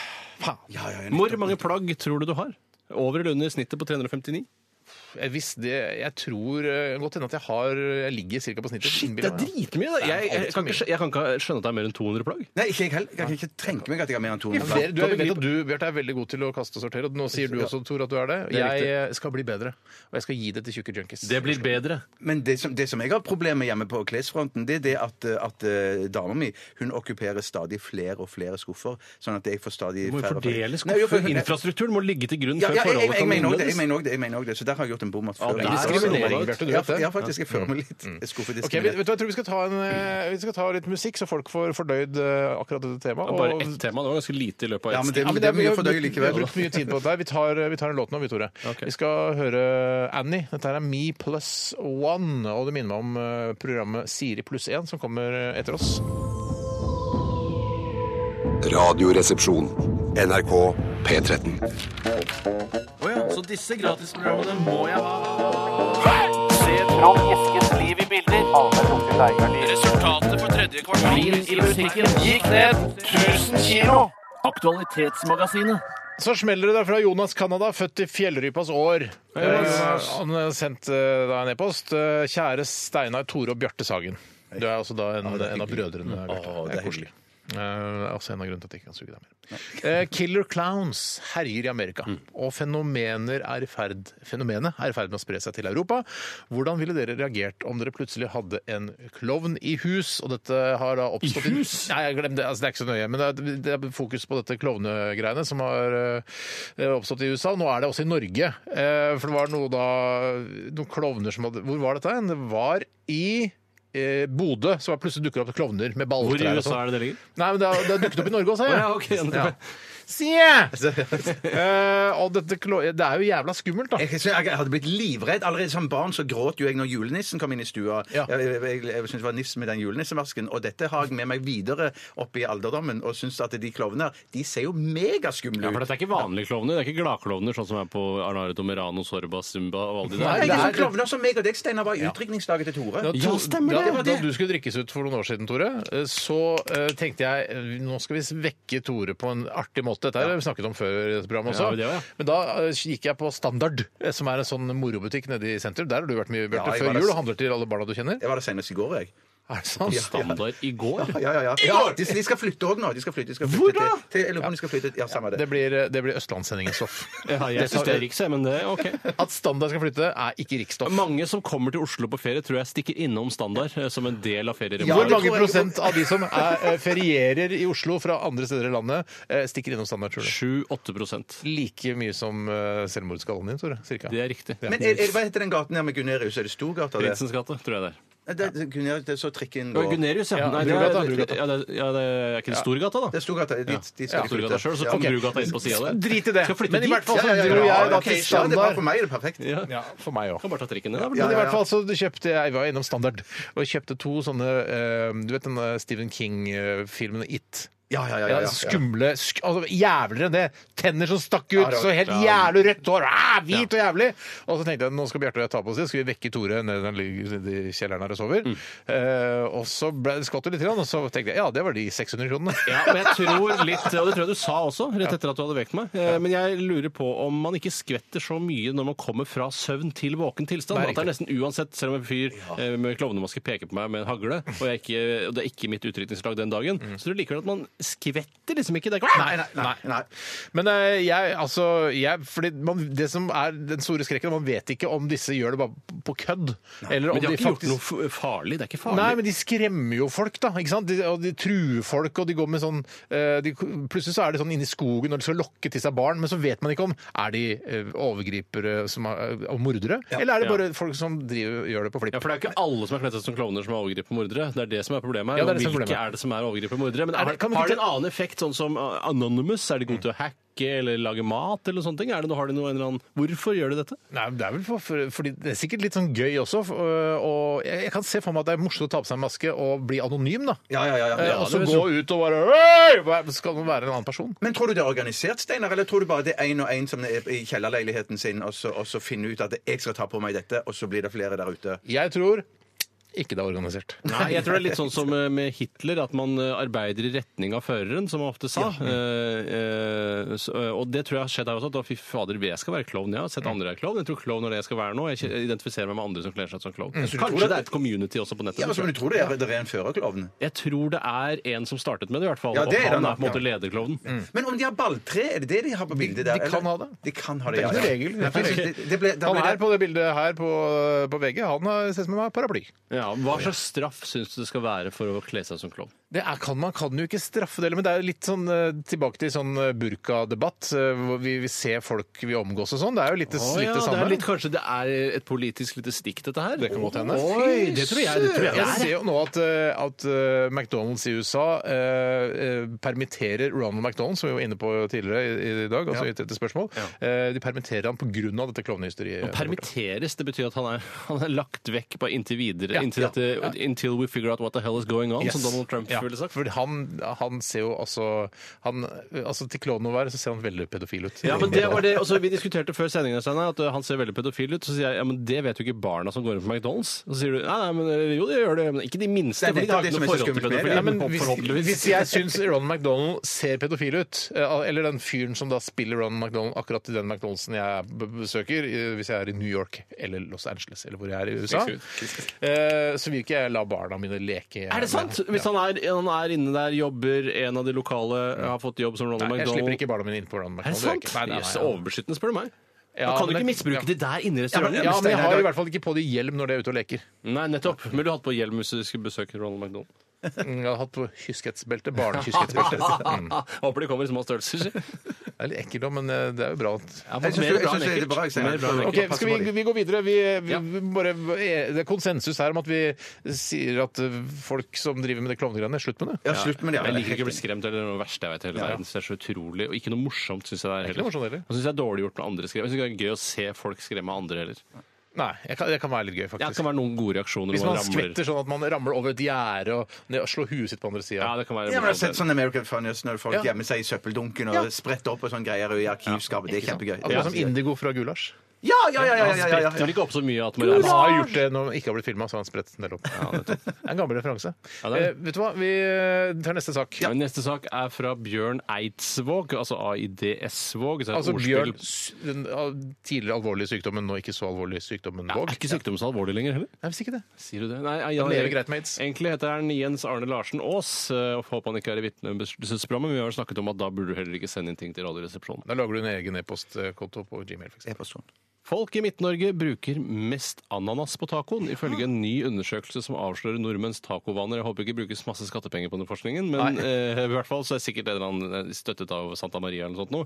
ja, ja, ja. Hvor mange plagg tror du du har? Over eller under snittet på 359? Jeg, visste Eh, det, jeg tror eh, godt hende at jeg har Jeg ligger ca. på snittet. Det er innbiller jeg meg. dritmye! da. Jeg, jeg, kan ikke skjø- jeg kan ikke skjønne at det er mer enn 200 plagg. Nei, ikke jeg heller. Jeg kan ikke tenke meg at jeg har mer enn Jo 200 flere- Du, jeg plagg. vet at du Bjarte, er veldig god til å kaste og sortere, og nå sier du også, Tor, at du er det. er Jeg eh, skal bli bedre, og jeg skal gi det til tjukke junkies. Det blir bedre. Men det som, det som jeg har problemer med hjemme på klesfronten, det er det at, eh, at eh, dama mi hun okkuperer stadig flere og flere skuffer. Sånn at jeg får stadig Du må jo færre og flere- fordele Nei, jo, for- skuffer. Infrastrukturen må ligge til grunn Ja, før ja, jeg, jeg, jeg forholdet kan mener også det, jeg innledes. mener også det, jeg mener også det. Så der har jeg gjort en bom at før. det er Jeg- diskriminering, Bjarte, du Ja, vet det. ja, faktisk. Jeg føler meg litt Mm. Ok, vet, skuffediskriminert. vet du, hva, Jeg tror vi skal, ta en, eh, vi skal ta litt musikk, så folk får fordøyd eh, akkurat dette temaet. Det var bare og- ett tema. Det var ganske lite i løpet av Ja, ett men det, Ja, men det er vi mye har å fordøye brukt- Vi har likevel. brukt mye tid på dette. her. Vi tar, vi tar en låt nå, vi, Tore. Ok. Vi skal høre Annie. Dette her er Me Plus One. Og det minner meg om eh, programmet Siri pluss 1, som kommer eh, etter oss. Radioresepsjon. NRK P13. Så smeller det der fra Jonas Canada, født i fjellrypas år. Eh, han har sendt eh, da en e-post. Eh, Kjære Steinar, Tore og Bjarte Sagen. Du er altså da en, en av brødrene. Bjarte. det er koselig. Eh, altså en av grunnene til at jeg ikke kan suge deg mer. Eh, killer clowns herjer i Amerika, og fenomener er i ferd, fenomenet er i ferd med å spre seg til Europa. Hvordan ville dere reagert om dere plutselig hadde en klovn i hus? Og dette har da oppstått I hus? Nei, jeg glemte det. Altså, det er ikke så nøye. Men det er, det er fokus på dette klovnegreiene som har eh, oppstått i USA. Nå er det også i Norge. Eh, for det var noe da Noen klovner som hadde Hvor var dette? hen? Det var i eh, Bodø, så var plutselig dukker det opp klovner med punkt. Hvor i balltrær og USA sånn. er det det ligger? Nei, men det har, det har dukket opp i Norge også, Å, ja, ok. Ja. Sier jeg! Eh, og dette, klo- det er jo jævla skummelt, da. Eh, Jeg, jeg, jeg hadde blitt livredd. Allerede som barn så gråt jo jeg når julenissen kom inn i stua. Ja. Jeg, jeg, jeg, jeg syntes det var nifs med den julenissemasken. Og dette har jeg med meg videre opp i alderdommen og syns at de klovnene her, de ser jo megaskumle Ja, for ut. dette er ikke vanlige klovner. Det er ikke gladklovner sånn som er på Arnare Tomerano, Sorba, Zumba og alle de der. Nei, det det er er- sånn klovner som meg og deg, Steinar, var i utdrikningslaget til Tore. Da- Ja, stemmer det. da, Det var Da du skulle drikkes ut for noen år siden, Tore, eh, så eh, tenkte jeg eh, nå skal vi vekke Tore på en artig måte. Dette har vi snakket om før i dette programmet Ja, også. det har vi, ja. Men da eh, gikk jeg på Standard, eh, som er en sånn morobutikk nede i sentrum. Der har du vært mye, Bjarte, Ja, jeg var før der- jul og handler til alle barna du kjenner. Jeg var der senest i går, jeg. Er det sant? Standard i går. Ja, ja, ja. ja de, de skal flytte òg nå. De skal flytte, de skal flytte Hvor da? til, til, jeg lurer på om de skal flytte Ja, samme det. Det blir, eh, det blir Østlandssendingens stoff. Ja, jeg syns det er riks, jeg, men det er OK. At Standard skal flytte, er ikke riksstoff. Mange som kommer til Oslo på ferie, tror jeg stikker innom Standard eh, som en del av Hvor det ferieremoen. tror mange jeg- prosent av de som er, eh, ferierer i Oslo fra andre steder i landet, eh, stikker innom Standard, tror du? 7-8 prosent. Like mye som eh, selvmordsgallen din, Tore. Cirka. Det er riktig. Men er, er, hva heter den gaten her med Gunerius? Er det Storgata? det? Prinsens gate, tror jeg det er. Det, det, Gunerius, det er så trikken Ja, går. Gunerius, ja. Ja, Nei, det er, Brugata, Brugata. Ja, det, ja, det er ikke det Storgata, da? Det er Storgata. De, de skal Ja, Storgata selv, så kom Ja. Brugata inn på sida der. Drit i det. Skal flytte Men i dit? hvert fall så Ja, ja, ja, dro ja, jeg da ok, til ja, det er bare standard. for meg er det perfekt. Ja. Ja, for meg òg. Kan bare ta trikken ned, da. Men i ja, hvert fall så kjøpte jeg var innom Standard og kjøpte to sånne eh, Du vet den eh, Stephen King-filmen It? Ja, ja, ja, ja, Ja, ja. skumle sk altså, Jævligere enn det. Tenner som stakk ut, Ja, det var- så helt ja. jævlig rødt hår. Ah, hvit og jævlig! Og så tenkte jeg nå skal Bjarte og jeg ta på oss det, skal vi vekke Tore ned den ligger nede i kjelleren her og sover. Eh, og så ble det skvatt jo litt, grann, og så tenkte jeg ja, det var de 600 kronene. Ja, og jeg tror litt, og det tror jeg du sa også, rett etter at du hadde vekt meg. Eh, Men jeg lurer på om man ikke skvetter så mye når man kommer fra søvn til våken tilstand. Nei, at det er nesten uansett, selv om en fyr eh, med klovnemaske peker på meg med en hagle, og, jeg ikke, og det er ikke mitt utrykningslag den dagen, Mm. så tror jeg likevel at man skvetter liksom ikke. Det er ikke Nei, nei, nei. nei. Men eh, jeg, altså jeg, fordi man, Det som er den store skrekken, man vet ikke om disse gjør det bare på kødd. Eller om Men de de har ikke faktisk gjort noe f- farlig. Det er ikke farlig. Nei, men de skremmer jo folk, da. ikke sant? De, og de truer folk, og de går med sånn eh, de, Plutselig så er de sånn inne i skogen og de skal lokke til seg barn, men så vet man ikke om er de eh, overgripere som er, og mordere, eller er det bare folk som driver, gjør det på Ja, flipp? for Det er ikke alle som er kledd ut som klovner som er overgripere og mordere. Det er det som er problemet her. Ja, det er det og som er Hvilke problemet. er det som er overgripere og mordere? Men Er er, det- kan vi har ikke det en annen effekt, sånn som uh, Anonymous? Er de gode til å hacke eller lage mat eller sånne ting? Er det, noe- har de noe, en eller annen, hvorfor gjør de dette? Nei, men det er vel for, for, fordi det er sikkert litt sånn gøy også, f- øh, og jeg, jeg kan se for meg at det er morsomt å ta på seg en maske og bli anonym, da. Ja, ja, ja, ja. Eh, ja. og så det gå vil ut og bare «Øy!» Hva- Skal man være en annen person? Men tror du det er organisert, Steinar, eller tror du bare det er én og én som er i kjellerleiligheten sin, og så, og så finner ut at jeg skal ta på meg dette, og så blir det flere der ute? Jeg tror ikke det er organisert. Nei, jeg tror det er litt sånn som eh, med Hitler, at man eh, arbeider i retning av føreren, som han ofte sa. Eh, eh, så, eh, og det tror jeg har skjedd her også. At da, fy fader, jeg skal være klovn. Jeg har sett andre er klovn. Jeg tror klovn er det jeg skal være nå. Jeg kje- identifiserer meg med andre som kler seg ut som klovn. Kanskje det er et community også på nettet. Ja, som altså, kjører. men du tror det er, det er en førerklovn? Jeg tror det er en som startet med det, i hvert fall. Ja, det er og han det nok, er på en måte ja. lederklovnen. Mm. Men om de har balltre, er det det de har på bildet der? de kan eller? ha det. De kan ha det, Det er ikke noen ja. ja. regel. Det er ikke- det- det ble- da Han ble her det- på det bildet her på, på VG, han har ses med meg paraply. Ja, hva slags straff syns du det skal være for å kle seg som klovn? Det er, kan man kan jo ikke straffe det, men det er jo litt sånn eh, tilbake til sånn eh, burkadebatt, eh, hvor vi, vi ser folk vi omgås og sånn. Det er jo litt, det- litt det det samme. er litt, kanskje det er et politisk lite stikk, dette her? Det kan godt hende. Oi, det tror jeg. Det tror jeg. Jeg ser jo nå at, eh, at eh, McDonald's i USA eh, eh, permitterer Ronald McDonald, som vi var inne på tidligere i, i dag, altså i dette spørsmål. Eh, de permitterer han pga. dette klovnehysteriet. Permitteres, det betyr at han er, han er lagt vekk på inntil videre, Ja, inntil, ja, dette, until we figure out what the hell is going on, Yes. som Donald Trump Ja, ville sagt. For han, han ser jo altså, han, altså Til klovnen å være så ser han veldig pedofil ut. Ja, men det var det, også, Vi diskuterte før sendingen Steinar, at uh, han ser veldig pedofil ut. Så sier jeg ja, men det vet jo ikke barna som går inn på McDonald's. Og så sier du nei, nei, men uh, jo, det gjør det, men ikke de minste. Det er for de nettopp har det ikke som er så noe forhold til skummelt med det. pedofili. Ja, men for- hvis, forhåpentligvis. hvis jeg syns Ronald McDonald ser pedofil ut, eh, eller den fyren som da spiller Ronald McDonald akkurat i den McDonald'sen jeg b- besøker, eh, hvis jeg er i New York eller Los Angeles eller hvor jeg er i USA, eh, så vil ikke jeg la barna mine leke Er det sant? Hvis han er, han er inne der, jobber, en av de lokale eh, har fått jobb som Ronald Nei, jeg McDonald slipper ikke barna mine inn på Ronald Er det McDonald. gjør jeg sant? ikke. Nei, nei, nei, Jøss, nei. overbeskyttende, spør du meg. Ja, da kan du men- ikke misbruke ja. de der inne i restauranten. Ja, men jeg har i hvert fall ikke på det hjelm når det er ute og leker. Nei, nettopp. Men du hadde på hjelm hvis du skulle besøke Ronald McDonald. Mm, Jeg har hatt på kyskhetsbelte. Barnekysketsbelte. Mm. Håper de kommer i små størrelser. Det er litt ekkelt òg, men eh, det er jo bra at Jeg synes- jeg synes det er bra, jeg sier. Mer bra enn Ok, ekkelt. skal vi, vi går videre. Vi, vi, Ja. vi bare, eh, det er konsensus her om at vi sier at eh, folk som driver med det klovnegreiene, slutt med det. Ja, slutt med det. ja. Jeg liker ikke å bli skremt eller noe verste jeg vet i hele verden. Så det er så utrolig, og ikke noe morsomt syns jeg det ikke er noe heller. morsomt heller. Og synes jeg det er dårlig gjort når andre skremmer. Jeg synes ikke det er gøy å se folk skremme andre heller. Nei, jeg kan, det kan være litt gøy, Ja, det faktisk. kan være noen gode reaksjoner. Hvis når man ramler. skvetter sånn at man ramler over et gjerde og, ned- og slår huet sitt på andre sida. Ja, det kan være Ja, men jeg har sett sånn American Funniest når folk Ja. gjemmer seg i søppeldunken og Ja. spretter opp og sånn greier i arkivskapet. Det er kjempegøy. Akkurat som Indigo fra Gulasj. Ja, ja, ja! ja, Han ja, ja, ja, spretter vel ja. ikke opp så mye at man Han ramler. har gjort det når han ikke har blitt filma, så har han spredt en del opp. det er en gammel referanse. Ja, det er eh, det. vet du hva, vi eh, tar neste sak. Men Neste sak er fra Bjørn Eidsvåg, altså AIDS-våg. så er det et Altså ordspill- Bjørn, s- den ah, tidligere alvorlige sykdommen, nå ikke så alvorlig sykdommen Ja, Våg. er ikke sykdom så alvorlig lenger heller? Nei, visst ikke det. Sier du det? Nei, jeg, Han lever greit med aids. Egentlig heter han Jens Arne Larsen Aas. eh, og Håper han ikke er i vitnebeskyttelsesprogrammet, men vi har jo snakket om at da burde du heller ikke sende inn ting til Radioresepsjonen. Da lager du en egen e-postkonto på Gmail, for eksempel. E-postron. Folk i Midt-Norge bruker mest ananas på tacoen, ifølge en ny undersøkelse som avslører nordmenns tacovaner. Jeg håper ikke brukes masse skattepenger på den forskningen, men eh, i hvert fall så er sikkert en eller annen støttet av Santa Maria eller noe sånt noe.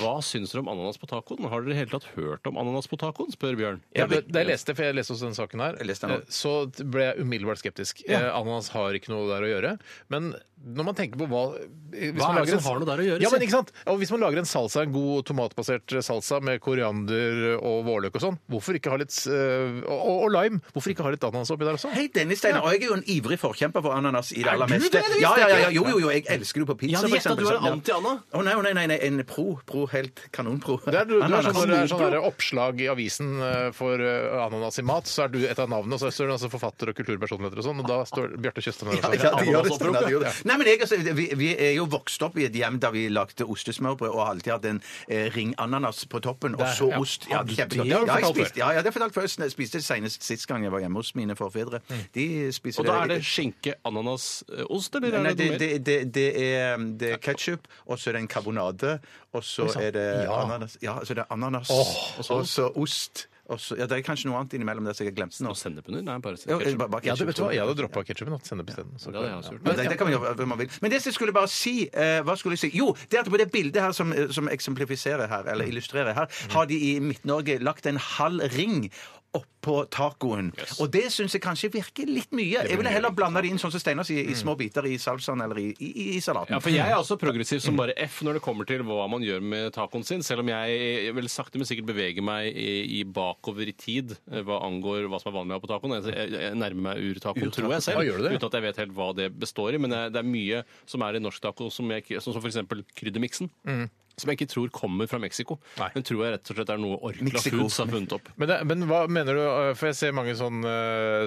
Hva syns dere om ananas på tacoen? Har dere i det hele tatt hørt om ananas på tacoen, spør Bjørn. Ja, det, det jeg leste, for jeg leste også denne saken her, Jeg leste den også. eh, så ble jeg umiddelbart skeptisk. Eh, Ananas har ikke noe der å gjøre. Men når man tenker på hva eh, hvis Hva man er det lager en- som har noe der å gjøre, Ja, men si? ikke sant? Og hvis man lager en salsa, en god tomatbasert eh, salsa med koriander og vårløk og sånn, hvorfor ikke ha litt eh, og, og- og lime? Hvorfor ikke ha litt ananas oppi der også? Hei, Dennis Steiner, og jeg er jo en ivrig forkjemper for ananas i det aller du det? meste. Det visste Ja, jeg ja, ja, ikke. ja, jo, jo, jo, jeg elsker det på pizza, Jeg hadde for gjettet at eksempel. du var sånn, ja. anti-Anna. Å nei, å nei, nei, nei, en pro, pro helt, kanonpro. Det er, du, du er Ananas. sånn, når det er sånn der oppslag i avisen eh, for eh, ananas i mat, så er du et av navnene, og så står det altså forfatter og kulturpersonligheter og sånn, og da står Bjarte Tjøstheim der Ja, også. ja, de gjør det, Ananasopprop, sånn, ja, de gjør ja. det. Nei, men jeg, altså, vi, vi er jo vokst opp i et hjem der vi lagde ostesmørbrød og har alltid hatt en eh, ring ananas på toppen, og så ja. ost. Ja, Har du kjempegodt. det? Har du Ja, jeg fortalt før? spiste- ja, ja, det har jeg fortalt før. Jeg spiste det senest sist gang jeg var hjemme hos mine forfedre. De spiser Og da er det skinke, ananas, eh, ost, eller? er Nei, det det, noe mer? det, det, det er, um, det er ketsjup, og så er det en karbonade, og så er det ananas. Ja, så det er ananas, og så ost. Og så, ja, det er kanskje noe annet innimellom der, så jeg har glemt det nå. Og sennep under? Nei, bare Jo, ketchup. bare- bare Ja, du vet du hva, ketchup. jeg hadde droppa ketsjupen og sennep isteden. så- Ja, det har jeg også gjort. Men, det, det kan man gjøre hva man vil. Men det som jeg skulle bare si, eh, hva skulle jeg si? Jo, det er at på det bildet her som, eh, som eksemplifiserer her, eller illustrerer her, har de i Midt-Norge lagt en halv ring oppå tacoen. Og det syns jeg kanskje virker litt mye. Jeg ville heller blanda det inn sånn som Steinar sier, i små biter i salsaen eller i, i, i salaten. Ja, for jeg er også progressiv som bare F når det kommer til hva man gjør med tacoen sin, selv om jeg vel sakte, men sikkert beveger meg i, i bakover i tid eh, hva angår hva som er vanlig å ha på tacoen. Jeg, jeg, jeg nærmer meg urtacoen, tror jeg selv, Ja, gjør du det? uten at jeg vet helt hva det består i, men det er, det er mye som er i norsk taco, som, jeg, ikke- sånn som for eksempel kryddermiksen. Som jeg ikke tror kommer fra Mexico. Nei. Den tror jeg rett og slett er noe Orkla Mexico. Foods har funnet opp. Men, det, men hva mener du, eh, for jeg ser mange sånne,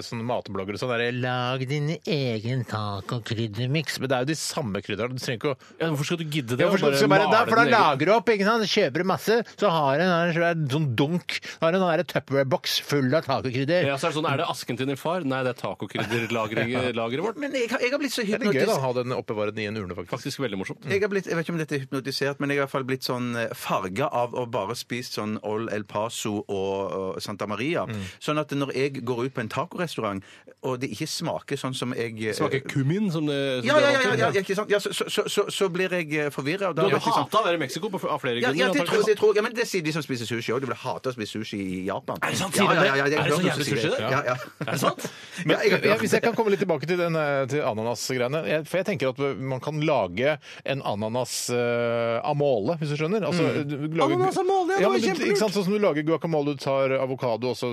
eh, sånne matbloggere og sånn der, Lag din egen taco-kryddermiks. Men det er jo de samme krydderne. Du trenger ikke å Ja, hvorfor skal du gidde det? Ja, for, og skal bare, male da, for da din egen- lager du opp, ikke sant? kjøper du masse, så har en har en svær sånn dunk har en sånn der Tupperware-boks full av tacokrydder. Ja, så er, det sånn, er det asken til din far? Nei, det er tacokrydderlageret vårt. Men jeg, har- jeg har blitt så Det er litt gøy da, hypnotisert. å ha den oppbevart i en urne, faktisk. Faktisk veldig morsomt. Jeg, har blitt, jeg vet ikke om dette er hypnotisert, men jeg har i hvert fall blitt sånn farga av å bare spise sånn Ol El Paso og, og Santa Maria. Mm. Sånn at når jeg går ut på en tacorestaurant, og det ikke smaker sånn som jeg Smaker kummin, som det Ja, som det ja, er ja, ja, vant til. ja, ikke sant? ja så, så, så, så, så blir jeg eh, forvirra. Du hadde hata å være i Mexico på, av flere ja, grunner. ja, det tror, antageligvis. det tror, ja, men det sier de som spiser sushi òg. Du ville hate å spise sushi i Japan. Er det sant? Ja, Sier de ja, ja, ja, det? jeg har Er det hørt så noen jævlig som sier sushi, det? Ja, ja. Er det sant? Men, Ja, jeg har hørt ja, om hvis jeg det. kan komme litt tilbake til, den, eh, til ananasgreiene. Jeg- For jeg tenker at man kan lage en ananas eh, amole, hvis du skjønner. Altså, du lager, Mm. Ananas amole, ja, det ja, var men du- kjempelurt. ikke sant, Sånn som du lager guacamole, du tar avokado og så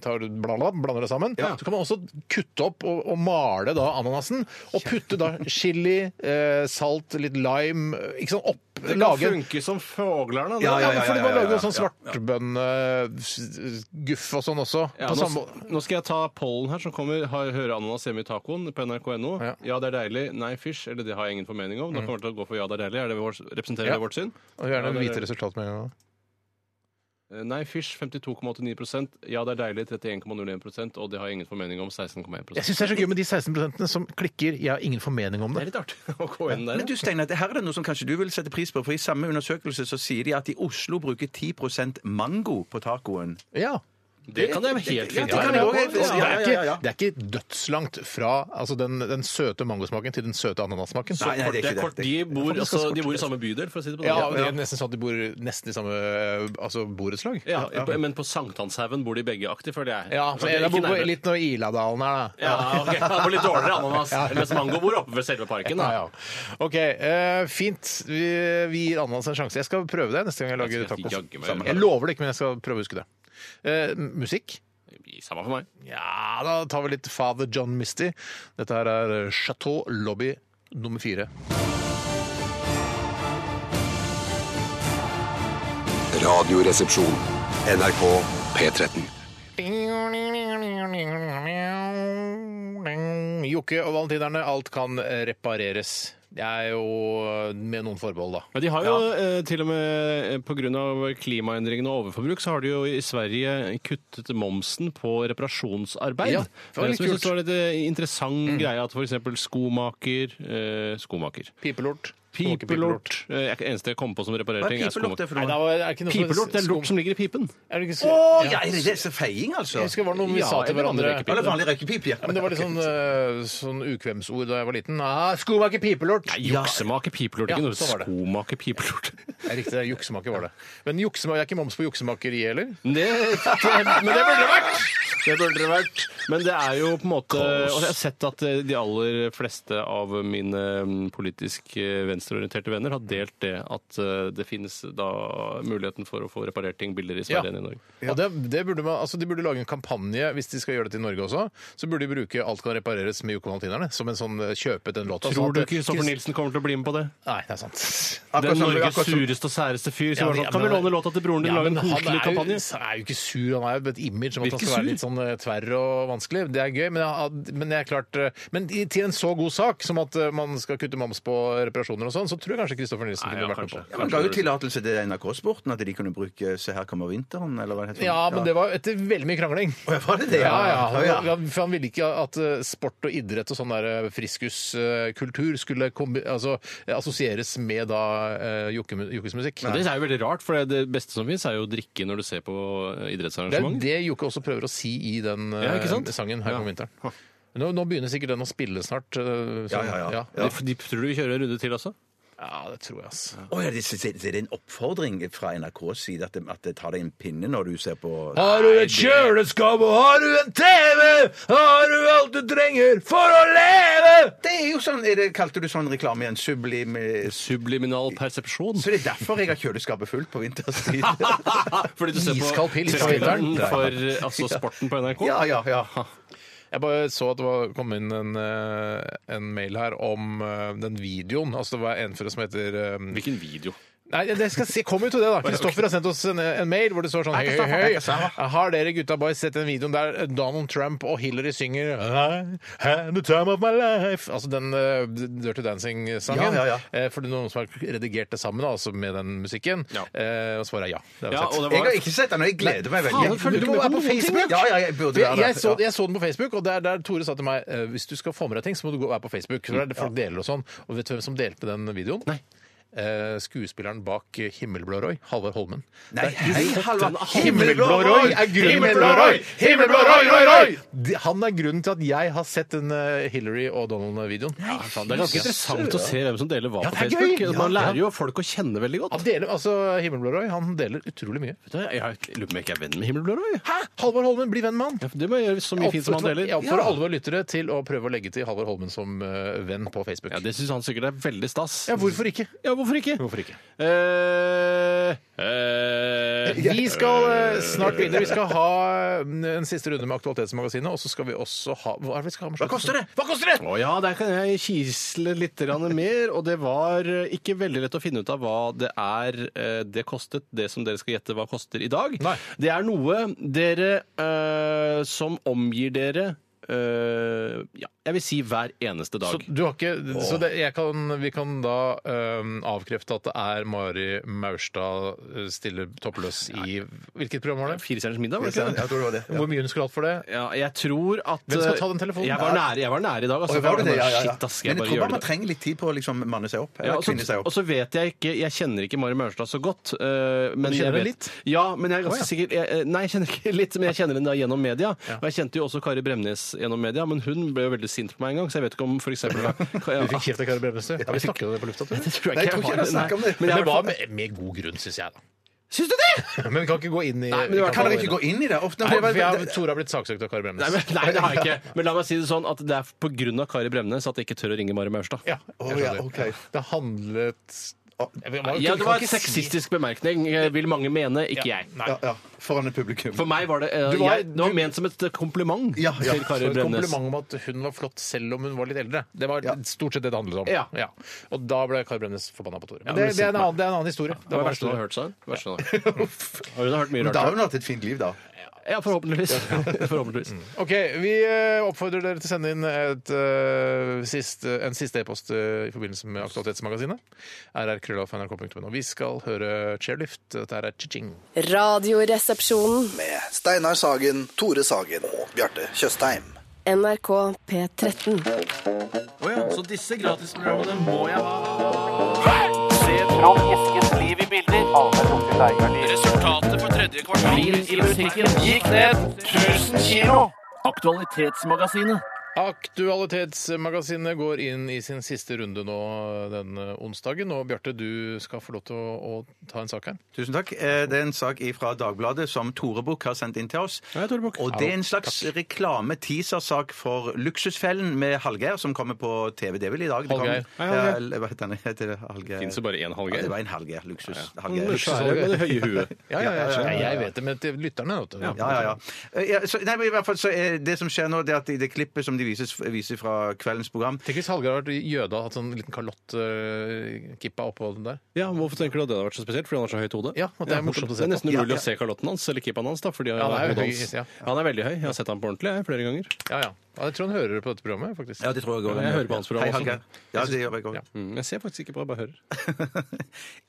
tar du bla, bla, blander det sammen. Så kan man også kutte opp og, og male da ananasen. Og putte da chili, eh, salt, litt lime eh, ikke sant, opp. Det kan lage en funke som fuglerne. det. Ja, ja, ja, ja, men fordi ja, man ja, lager jo ja, sånn eh, svartbønneguff og sånn også. Ja, på nå, samme... nå skal jeg ta pollen her, som kommer. Har, hører ananas hjemme i tacoen på nrk.no. Ja. Ja. Mm. det er deilig. Nei, fish. Eller det har jeg ingen formening om. Da kommer det til å gå for ja, det er deilig. Er det vår, representerer Ja. det vårt syn? Og gjerne Ja, det er- vite resultatet med en gang. Eh, Nei, fish 52,89 Ja, det er deilig 31,01 og det har jeg ingen formening om 16,1 Jeg syns det er så gøy med de 16 som klikker. Jeg har ingen formening om det. litt artig å gå inn der. Men du, Steinar, det her er det noe som kanskje du vil sette pris på. For i samme undersøkelse så sier de at i Oslo bruker 10 mango på tacoen. Ja. Det kan jeg helt Ja, fint det kan jeg være også med helt på. fint. Det Ja, er ja, ja, ja. ikke, det er ikke dødslangt fra altså, den, den søte mangosmaken til den søte ananassmaken. Nei, nei, det er Det ikke er det. kort. De bor, Faktisk altså, kort, de bor i altså. samme bydel, for å si det på den Ja, måten. det er nesten sånn at de bor nesten i samme altså, borettslag. Ja, på- Men på Sankthanshaugen bor de begge aktig, føler jeg. Ja, så Altså, det er jeg ikke bor på nærmere. litt når Iladalen her, da. Ja, ok. Det var litt dårligere ananas. Mens mango bor oppe ved selve parken. Ja, Da. ja. OK, eh, fint. Vi, vi gir ananas en sjanse. Jeg skal prøve det neste gang jeg lager Jeg skal tacos. jaggu meg gjøre Samme det. her. Jeg lover det ikke, men jeg skal prøve å huske det. Eh, musikk? Samme for meg. Ja, da tar vi litt Father John Misty. Dette her er eh, Chateau Lobby nummer fire. Radioresepsjon. NRK P13. Jokke og valentinerne, alt kan repareres. Det er jo eh, med noen forbehold, da. Ja, de har jo eh, til og med pga. klimaendringene og overforbruk, så har de jo i Sverige kuttet momsen på reparasjonsarbeid. Ja, det var Eh, litt som jeg kult. synes Mm. var litt eh, interessant greie at f.eks. skomaker eh, Skomaker. Pipelort. Pipelort. Eh, jeg- Eneste jeg kom på som reparerer Hva er altså, ting, pipelort er skum. det for Nei, da noe? var- er det ikke noe som- Pipelort det er lort som ligger i pipen. Er det ikke så- Å, Ja. ja, er det det som er feiing, altså? Jeg husker det var noe vi Ja, sa til eller vanlig hverandre. rekepip. Eller vanlig røykepip, ja. Men det var litt sånn, eh, sånn ukvemsord da jeg var liten. Ah, skomaker pipelort! Nei, Juksemaker pipelort. Ikke Ja, noe så var det. skomaker pipelort. Ja, Riktig, det er juksemaker var det. Men juksema- jeg er ikke moms på juksemakeri heller? Men Det, men det burde det vært! Det burde det vært. Men det er jo på en måte Og jeg har sett at eh, de aller fleste av mine mm, politisk eh, venstreorienterte venner har delt det at eh, det finnes da muligheten for å få reparert ting billigere i Sverige enn i Norge. Og det, det burde man, altså De burde lage en kampanje hvis de skal gjøre det til Norge også. Så burde de bruke 'Alt kan repareres' med Jokovalentinerne som en sånn eh, kjøpet en låt. Tror du Kristoffer Nilsen kommer til å bli med på det? Nei, det er sant. Akkurat Den som- Norges akkurat som- sureste og særeste fyr. som Ja, var men- sånn, kan vi låne låta til broren din? Ja, lage men en han er hokelig jo, kampanje? han er jo ikke sur, han er jo et image om at Virker han skal være sur. litt sånn eh, tverr og vanskelig. Det er gøy, men, jeg, men, jeg er klart, eh, men i- til en så god sak som at eh, man skal kutte moms på reparasjoner og sånn, så tror jeg kanskje Kristoffer Nilsen Nei, kunne ja, vært kanskje. med på. Ja, Man ga jo tillatelse til NRK-sporten, at de kunne bruke 'Se her kommer vinteren', eller hva det heter. Ja, men det var etter veldig mye krangling. Å, ja, var det det? Ja, ja. Å, Han, han- for han ville ikke at eh, sport og idrett og sånn der friskuskultur skulle kombi, altså, eh, assosieres med da eh, jokke- jokkesmusikk. Men det er jo veldig rart, for det beste som fins, er jo å drikke når du ser på eh, Det er jo idrettsarrangement. det Jokke også prøver å si i den eh, Ja, ikke sant? sangen her Ja. om vinteren. Nå, nå begynner sikkert den å spille snart. eh, så- Ja, ja, ja. ja. De, de tror du vi kjører en runde til også? Ja, det tror jeg, ass. Å, ja, det, det, det er en oppfordring fra NRKs side at det, at det tar deg en pinne når du ser på Har du et kjøleskap og har du en TV, har du alt du trenger for å leve! Det er jo sånn, er det, Kalte du sånn reklame igjen? Sublim... Subliminal persepsjon. Så det er derfor jeg har kjøleskapet fullt på vinterstid. Fordi du ser på Iskald pils på traileren vinteren. for eh, altså, sporten på NRK. ja, ja, ja. Jeg bare så at det var, kom inn en, eh, en mail her om eh, den videoen. Altså det var en for oss som heter eh, Hvilken video? Nei, det skal jeg si, kom jo til det, da. Kristoffer har sendt oss en, en mail hvor det står sånn Hei, hei, hei. Har dere gutta boys sett den videoen der Donald Trump og Hillary synger I had the time of my life Altså den eh, Dirty Dancing-sangen. Ja, ja, ja. Eh, For det er noen som har redigert det sammen, da, altså med den musikken. Ja. Eh, Og svaret er ja. Det har vi Ja, sett. og det Jeg var har ikke sett den, og jeg gleder meg veldig. Faen, følger du må med på være noen ting? Ja, ja, jeg burde være jeg, der. jeg, så, Ja. jeg så den på Facebook, og der, der Tore sa til meg eh, hvis du skal få med deg ting, så må du gå, være på Facebook. For der Mm, er det folk deler og sånn. Og vet du hvem som delte den videoen? Nei. skuespilleren bak eh, Himmelblå Roy, Halvard Holmen. Nei, hei, Halvard. Himmelblå Roy er grunnen Himmelblå Roy! Himmelblå Roy, Roy, Roy! De- eh, Han er grunnen til at jeg har sett den eh, Hillary og Donald-videoen. Det er ganske interessant å se hvem som deler hva Ja, på det er gøy. Facebook. Ja, Man lærer jo folk å kjenne veldig Han godt. deler, altså Himmelblå Roy han deler utrolig mye. Vet du, Jeg har- jeg lurer på om jeg ikke er venn med Himmelblå Roy. jeg. Hæ? Halvard Holmen, bli venn med han! Ja, for Det må jeg gjøre så mye fint som han deler. Jeg oppfordrer alle våre lyttere til å prøve å legge til Halvard Holmen som eh, venn på Facebook. Ja, Det syns han sikkert er veldig stas. Ja, hvorfor ikke? Ja, hvorfor ikke? Hvorfor ikke? Eh, eh, Vi skal eh, snart videre. Vi skal ha eh, en siste runde med Aktualitetsmagasinet. Og så skal vi også ha Hva er det vi skal ha med Hva koster det? Hva koster det? Å ja, der kan jeg kisle litt grann mer. Og det var eh, ikke veldig lett å finne ut av hva det er eh, det kostet, det som dere skal gjette hva koster i dag. Nei. Det er noe dere eh, som omgir dere eh, ja, jeg vil si hver eneste dag. Så, du har ikke, så det, jeg kan, vi kan da eh, avkrefte at det er Mari Maurstad eh, stiller toppløs i Hvilket program var det? Firestjerners middag, var det ikke det? Jeg tror det var det. Hvor mye hun skulle hatt for det? Ja, jeg tror at Hvem skal ta den eh, telefonen? Jeg var nære, jeg var nære i dag. Altså, Oi, var det det? Ja, ja, ja. Shit, ass, skal Men jeg jeg tror bare bare gjøre man det? trenger litt tid på å liksom manne seg opp. Ja, Eller og, så, kvinne seg og opp. så vet jeg ikke Jeg kjenner ikke Mari Maurstad så godt. eh, men Du jeg kjenner vet, henne litt? Ja, men jeg er ganske sikker jeg, eh, Nei, jeg kjenner ikke litt, men jeg kjenner henne da gjennom media. Og jeg kjente jo også Kari Bremnes gjennom media, men hun ble jo veldig sint på meg en gang, så jeg vet ikke om for eksempel Du fikk kjeft av Kari Bremnes, du. Har vi snakket om det på lufta? tror du? Det tror Nei, jeg jeg tror ikke ikke jeg har jeg snakket om har. det. Men Men jeg det var var med, med god grunn, syns jeg. da. Syns du det?! Men vi kan ikke gå inn i Nei, men det var- vi Kan ikke dere ikke gå inn i det? Ofte, Nei, for jeg, Tore har blitt saksøkt av Kari Nei, Bremnes. men, nei, det har jeg ikke. Men la meg si det sånn at det er på grunn av Kari Bremnes at jeg ikke tør å ringe Mari Maurstad. Ja, Å, jeg ja, skjønner. ok. Det handlet Jeg vet- man- Ja, kan det var ikke en si- sexistisk bemerkning, eh, vil mange mene. Ikke Ja, jeg. Nei. ja, ja, foran et publikum. For meg var det eh, Du var- jeg, Det var ment som et kompliment Ja, ja. til Så Kari et Bremnes. kompliment om at hun var flott selv om hun var litt eldre. Det var Ja. stort sett det det handlet om. Ja. Og da ble Kari Bremnes forbanna på Tore. Men men det, det, er en sint annen, det er en annen historie. Det var det verste du har hørt, sa hun. Verste hun har hørt. Og Hun har hørt mye Men da har rart. hun hatt et fint liv, da. Ja, forhåpentligvis. forhåpentligvis. OK, vi eh, oppfordrer dere til å sende inn et, eh, sist, en siste e-post eh, i forbindelse med Aktualitetsmagasinet. rrkrøllalfa.nrk.no. Vi skal høre Chairlift. Dette her er Chiching. Radioresepsjonen. Med Steinar Sagen, Tore Sagen og Bjarte Tjøstheim. NRK P13. Så disse gratisprogrammene må jeg ha. Se Trond Eskes liv i bilder. Resultatet på tredje kvartal i musikken gikk ned 1000 kilo. Aktualitetsmagasinet. Aktualitetsmagasinet går inn i sin siste runde nå denne onsdagen. Og Bjarte, du skal få lov til å, å ta en sak her. Tusen takk. Eh, Det er en sak fra Dagbladet som Tore Bukk har sendt inn til oss. Og det er en slags reklame-teasersak for Luksusfellen med Hallgeir, som kommer på TV. Det er vel i dag? det kommer. Hallgeir. Hei, Hallgeir. Ja, eller Hva heter han? Heter det Hallgeir? Fins det bare én Ja, halvgeir? det var en Hallgeir. Luksus. Hallgeir. Den svære med det høye huet. Ja, ja, ja, Jeg vet det, men til lytterne, vet du. Ja, ja, ja. Eh, ja så, nei, men i hvert fall så er Det som skjer nå, det er at i det klippet som de vises, viser fra kveldens program Tenk hvis Hallgeir hadde vært jøde og hatt sånn liten kalottkippa oppå den der. Ja, Hvorfor tenker du at det hadde vært så spesielt? Fordi han har så høyt hode? Ja, at det er morsomt å se Det er nesten på. umulig Ja, ja. å se kalotten hans, eller kippaen hans, da, fordi Ja, han er jo hodet høy, hans- ja. Han er veldig høy. Jeg har sett ham på ordentlig jeg, flere ganger. Ja, ja. ja jeg tror han hører det på dette programmet, faktisk. det tror også. Jeg hører på hans program Hei, også. Hallgeir. Ja, det gjør jeg også. Ja. Mm, Jeg ser faktisk ikke på, jeg bare hører.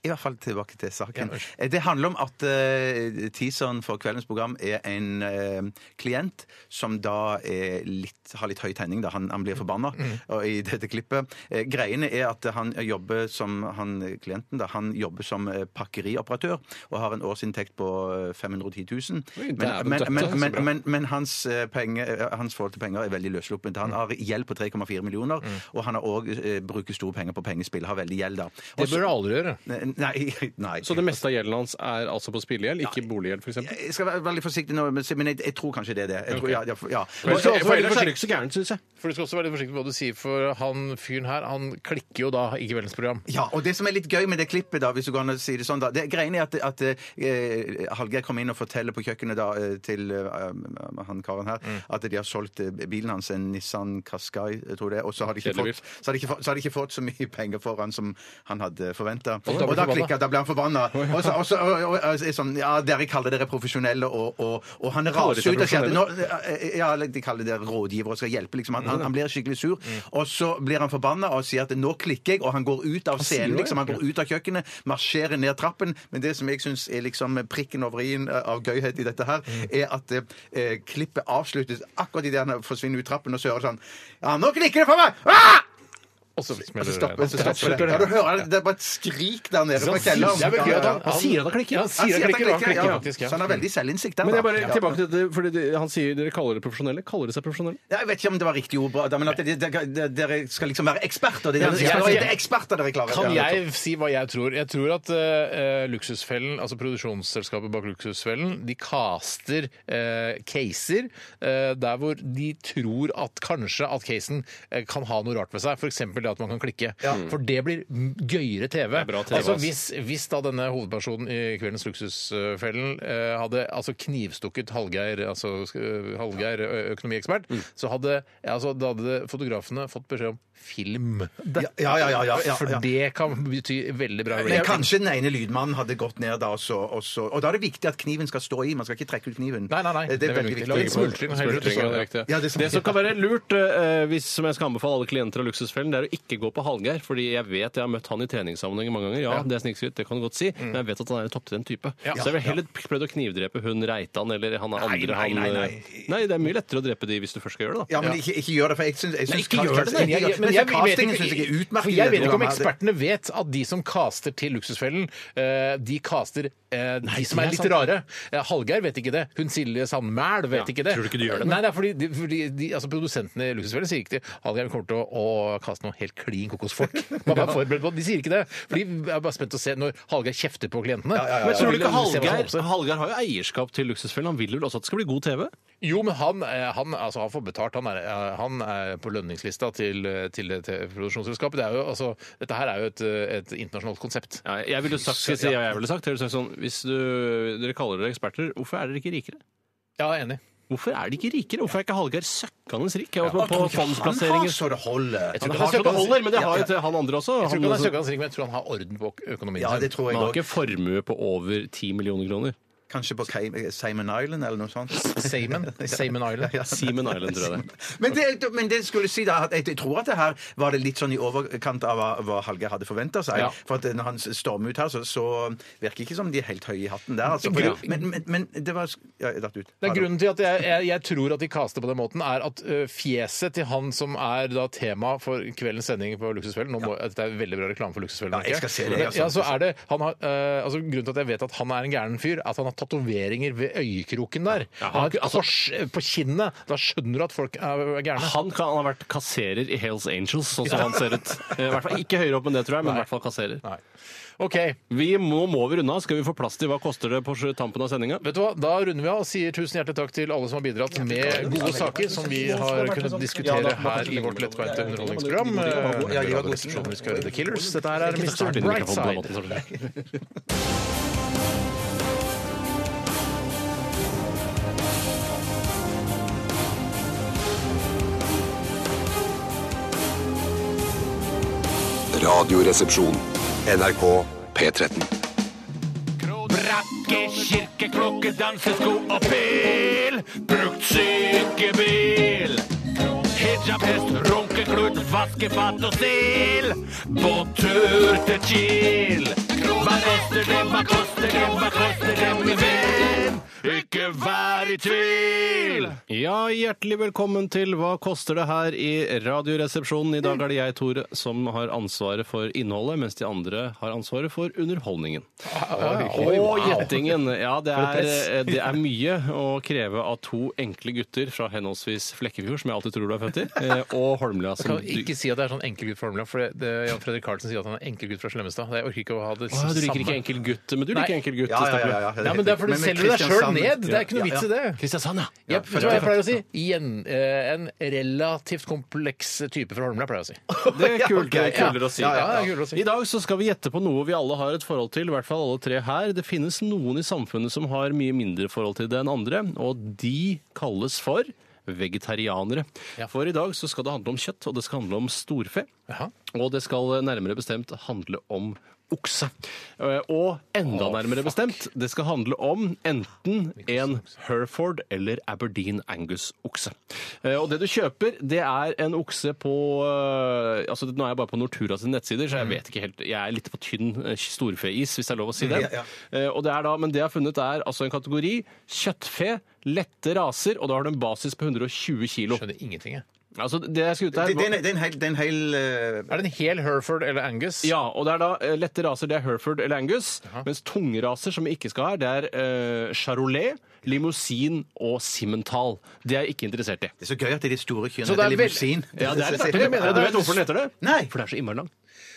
I hvert fall tilbake til saken. Eh, Det handler om at eh, teaseren for kveldens program er en eh, klient som da er litt, har litt høy tenning. Da. Han, han blir forbanna Mm. og i dette klippet. Eh, greiene er at han jobber som han, klienten da, han jobber som eh, pakkerioperatør og har en årsinntekt på eh, 510 000. Oi, Men, dæven men, døtte, men, så men, bra. men, men hans, eh, penger, eh, hans forhold til penger er veldig løssluppent. Mm. Han har gjeld på 3,4 millioner, og han har òg eh, bruker store penger på pengespill. Har veldig gjeld, da. Det Også- bør du aldri gjøre. Nei. nei. Så det meste av gjelden hans er altså på spillegjeld, ikke boliggjeld, f.eks.? jeg skal være veldig forsiktig nå, men men jeg, jeg tror kanskje det er det. Jeg tror, ja, ja, ja. Men For skal også være ellers er forsiktig- det ikke så gærent, syns jeg. For Du skal også være litt forsiktig med hva du sier, for han fyren her han klikker jo da i kveldens program. Ja, og Det som er litt gøy med det klippet, da, hvis du kan si det sånn da, det greien er at, at eh, Hallgeir kom inn og forteller på kjøkkenet da, eh, til eh, han karen her at de har solgt eh, bilen hans, en Nissan Qashqai, jeg tror det er, og så har de ikke, Kjedelig fått, så har de ikke, fått- så har de ikke fått så mye penger for han som han hadde forventa. Og Og da ble da han forbanna. klikka da ble han forbanna. Og så, og så og, og, og, er sånn, ja, dere kaller dere profesjonelle, og, og, og han Kaller raser de seg ut og sier at nå, eh, ja, eller de kaller det rådgiver og skal hjelpe, liksom. Han, han, han blir skikkelig sur, og så blir han forbanna og sier at nå klikker jeg, og han går ut av sier scenen, det, liksom. Han ja. går ut av kjøkkenet, marsjerer ned trappen. Men det som jeg syns er liksom prikken over i-en eh, av gøyhet i dette her, er at eh, klippet avsluttes akkurat idet han forsvinner ut trappen, og så hører du sånn Ja, nå klikker det for meg! Ah! Og så Og smeller så det. stopper, så stopper det. Ja, Ja, du hører det. Det er bare et skrik der nede fra kjelleren. Det er vel gøy at Ja, ja, han, ja. sier at han klikker. Ja, han sier at han klikker, og han klikker faktisk, ja. ja. Så han har veldig selvinnsikt der. Men jeg da. bare Ja. tilbake til det, fordi det, han sier dere kaller dere profesjonelle. Kaller de seg profesjonelle? Ja, Jeg vet ikke om det var riktig ord, Brad, men at de- de- de- dere skal liksom være eksperter. Det er Ja, det dere skal være. jeg- Det er eksperter dere klarer. Kan Ja, jeg si hva jeg tror? Jeg tror at eh, eh, Luksusfellen, altså produksjonsselskapet bak Luksusfellen, de caster eh, caser eh, der hvor de tror at kanskje at casen eh, kan ha noe rart ved seg. F.eks. det at man kan klikke. For det blir m- gøyere TV. er bra TV, altså, ass. hvis, hvis da denne hovedpersonen i Kveldens Luksusfellen eh, hadde altså knivstukket Hallgeir, altså eh, Hallgeir ø- økonomiekspert, så hadde, altså, da hadde fotografene fått beskjed om film. Det Ja, ja, ja. ja, ja, for ja. det kan bety veldig bra Men rating. kanskje den ene lydmannen hadde gått ned da, og så, og så Og da er det viktig at kniven skal stå i. Man skal ikke trekke ut kniven. Nei, nei, nei. Det er veldig Lag en viktig. smultring. og heller ut, Smultring, så- ja, det er riktig. Ja, det det, som- som kan være lurt, eh, hvis, som jeg skal anbefale alle klienter av Luksusfellen, det er å ikke gå på Hallgeir. Fordi jeg vet jeg har møtt han i treningssammenheng mange ganger. Ja, Mm. det er snikskritt, det kan du godt si, men jeg vet at han er en topptrent type. Ja. Så jeg ville heller prøvd å knivdrepe hun Reitan eller han er andre nei, nei, han nei. eh, Nei, det er mye lettere å drepe de hvis du først skal gjøre det, da. Ja, men ikke, ikke gjør det, for jeg syns jeg syns ikke gjør det, Ikke Men jeg- jeg- men jeg så castingen vet syns jeg er ikke- for utmerket. i jeg dette vet ikke om programmet. ekspertene vet at de som caster til Luksusfellen, eh, de caster eh, de som det er er litt sant. rare. Eh, Hallgeir vet ikke det. Hun Silje Sandmæl vet Ja, ikke det. tror du ikke de gjør det, Nei, det er fordi, de, fordi de, altså, produsentene i Luksusfellen sier ikke det. Hallgeir kommer til å, å kaste noe helt klin kokosfolk. Man er forberedt på det. De sier ikke det. Fordi jeg er bare spent å se når Hallgeir kjefter på klientene. Men tror du ikke Se hva som Hallgeir oppstår. Hallgeir har jo eierskap til Luksusfellen. Han vil vel også at det skal bli god TV? Jo, men han, eh, han, altså, han får betalt. Han er, eh, han er på lønningslista til, eh, til det til produksjonsselskapet. Det er jo, altså, dette her er jo et, eh, et internasjonalt konsept. Ja, jeg ville sagt, skal jeg si hva jeg ville sagt, jeg ville sagt sånn, hvis du, dere kaller dere eksperter, hvorfor er dere ikke rikere? Ja, jeg er enig. Hvorfor er de ikke rikere? Hvorfor er ikke Hallgeir søkkende rik? Jeg var Jeg på tror ikke Han har fondsplasseringer. så det holder. tror Han ikke har så det holder, men det Ja, har jo til han andre også. Jeg tror Han, ikke han er også- søkende rik, men jeg tror han har orden på økonomien Ja, sin. det tror jeg han òg. har ikke formue på over 10 millioner kroner. Kanskje på Cay- Cayman Island eller noe sånt. Samen. Samen Island. Seaman Island, tror jeg det. Men det, men det skulle jeg si da, at jeg, jeg tror at det her var det litt sånn i overkant av hva, hva Hallgeir hadder forventa seg. Ja. For at når han stormer ut her, så, så virker det ikke som de er helt høye i hatten der. Altså. Grunn- For, men, men, men det var ja, jeg datt ut. Det er grunnen til at jeg, jeg, jeg tror at de kaster på den måten, er at ø, fjeset til han som er da tema for kveldens sending på Luksusfellen nå må, Dette er veldig bra reklame for Luksusfellen. Ja, ikke? jeg skal se det, Men- altså. Ja, så er det, han har, ø, altså, grunnen til at jeg vet at han er en gæren fyr, er at han har tatoveringer ved øyekroken der. han har et Altså- kors ø, på kinnet. Da skjønner du at folk er, er gærne. Han kan ha vært kasserer i Hells Angels, sånn som han ser ut. Eh, I hvert fall Ikke høyere opp enn det, tror jeg, men i hvert fall kasserer. Nei. OK. Vi må, må vi runde av? Skal vi få plass til hva koster det på tampen av sendinga? Vet du hva, Da runder vi av og sier tusen hjertelig takk til alle som har bidratt med gode saker som vi har kunnet sånn- diskutere her i vårt lettbeinte underholdningsprogram. Eh, Radioresepsjonen, Vi skal høre The Killers. Dette her er Mr. Brightside. altså. Radioresepsjon. NRK P13. Brakke, kirke, klokke, dansesko og pil. Brukt sykebil. Hijab, hest, runkeklut, vaskefat og stil. Båttur til Kiel. Hva koster det, hva koster det, hva koster det, min venn? Ikke vær i tvil! Ja, hjertelig velkommen til Hva koster det her i Radioresepsjonen. I dag er det jeg, Tore, som har ansvaret for innholdet, mens de andre har ansvaret for underholdningen. Og gjettingen. Ja, det er, eh, det er mye å kreve av to enkle gutter fra henholdsvis Flekkefjord, som jeg alltid tror du er født i, eh, og Holmlia. Jeg Som kan ikke si at det er sånn enkelgutt for Holmlia, for det- det- Jan Fredrik Carlsen sier at han er enkelgutt fra Slemmestad. Jeg orker ikke å ha det Å, ja, du liker ikke samme. enkel gutt, men du liker Nei. enkel gutt. Ja, ja, ja, ja, Ja, men det er fordi du selger deg sjøl Kristiansand- ned. Det er ikke noe Ja, vits i det. Kristiansand, ja. Jepp, vet du hva jeg pleier å si? Igjen, eh, en relativt kompleks type fra Holmlia, pleier jeg å si. Det er kult, Ja, ok. kulere å si. Ja, ja, ja. det er kult å si. I dag så skal vi gjette på noe vi alle har et forhold til, i hvert fall alle tre her. Det finnes noen i samfunnet som har mye mindre forhold til det enn andre, og de kalles for vegetarianere. Ja. For i dag så skal det handle om kjøtt, og det skal handle om storfe. Jaha. Og det skal nærmere bestemt handle om okse. Eh, Og enda nærmere bestemt, det skal handle om enten en Herford eller Aberdeen Angus-okse. Eh, Og det du kjøper, det er en okse på eh, altså Nå er jeg bare på Nortura sine nettsider, så jeg Mm. vet ikke helt Jeg er litt på tynn eh, storfeis, hvis det er lov å si det. Ja, Eh, Og det er da, men det jeg har funnet, er altså en kategori kjøttfe, lette raser, og da har du en basis på 120 kilo. Skjønner ingenting, jeg. Altså, det jeg skal ut Det, her det, er en- det er en hel, det er en hel eh, Er det en hel Herford eller Angus? Ja, og det er da eh, lette raser, det er Herford eller Angus. Mens tunge raser som vi ikke skal ha, det er eh, Charolais, Limousin og Simmental. Det er jeg ikke interessert i. Det er eh, så gøy at det er de store Så kyrne. det Det er er limousin. Ja, det er litt artig. mener Ja, Du vet hvorfor den heter det? Nei. For det er så innmari lang.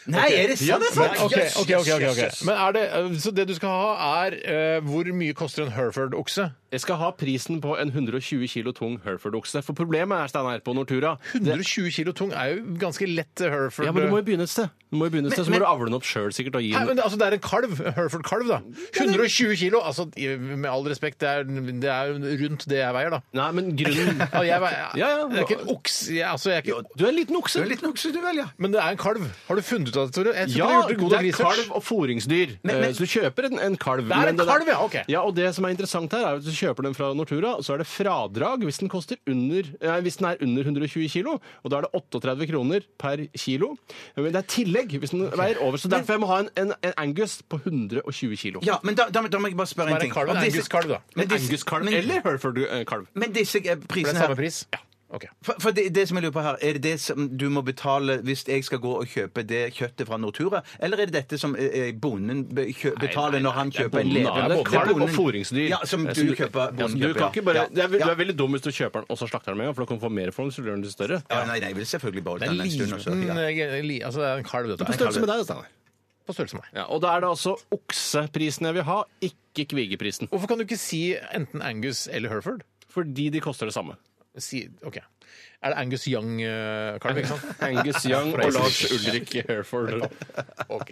Nei, er det sant? Ja, det er Ok, ok, ok, ok, ok. Men er det, eh, så det du skal ha er eh, hvor mye koster en Herford-okse? Jeg skal ha prisen på en 120 kilo tung Herford-okse. For problemet er, Steinar, på Nortura det, 120 kilo tung er jo ganske lett eh, Herford. Ja, men du må jo begynne et sted. Du må jo begynne et sted, Så må Men- du avle den opp sjøl sikkert og gi Nei, den men det, altså, det er en kalv. Herford-kalv, da. 120 kilo! Altså, i- med all respekt, det er, det er jo rundt det jeg veier, da. Nei, men grunnen Ja, jeg, veier, Ja, ja. jeg er ikke en okse. Jeg, altså, jeg er ikke, Du er en liten okse. Du er litt nokse, du vel, ja. men det er en kalv. Har du funnet ut av det, Tore? Jeg tror Ja, ikke du har det gjort god nok er research. kalv og foringsdyr. Eh, så du kjøper en, en kalv. Det er men en kalv, ja, ok. Ja, og det som er interessant her, er at du kjøper den fra Nortura, så er det fradrag hvis den, koster under, eh, hvis den er under 120 kilo, og da er det 38 kroner per kilo. Eh, Men det er tillegg hvis den veier over, så derfor jeg må ha en, en, en Angus på 120 kilo. Ja, men da, da, da må jeg bare spørre Som en er ting. en kalv, Om en disse- Angus-kalv, da. Men disse- Angus-kalv men- eller Herford-kalv. Men disse eh, Det prisene er her samme pris? Ja. Ok. For, for det, det som jeg lurer på her, Er det det som du må betale hvis jeg skal gå og kjøpe det kjøttet fra Nortura? Eller er det dette som eh, bonden be- kjø, betaler når han det er kjøper en bonden, da. levende Det er kalv og bonden. foringsdyr. Ja, som du Så kjøper. ja, bonden så du kjøper, kan ikke bare, ja. det er, du Ja. er veldig dum hvis du kjøper den, og så slakter den med en gang, for da kan du få mer for den, så blir den litt større. Ja, nei, nei, jeg vil selvfølgelig beholde Det er den en stund. liten Også. Ja. eh, li, Altså, det er en kalv, dette På her. størrelse med deg, Steinar. På størrelse med meg. Ja, og da er det altså okseprisen jeg vil ha, ikke kvigeprisen. Hvorfor kan du ikke si enten Angus eller Herford? Fordi de koster det samme. Si, ok. Er det Angus Young-kalv, ikke sant? Angus Young og Lars Ulrik Herford. Ok.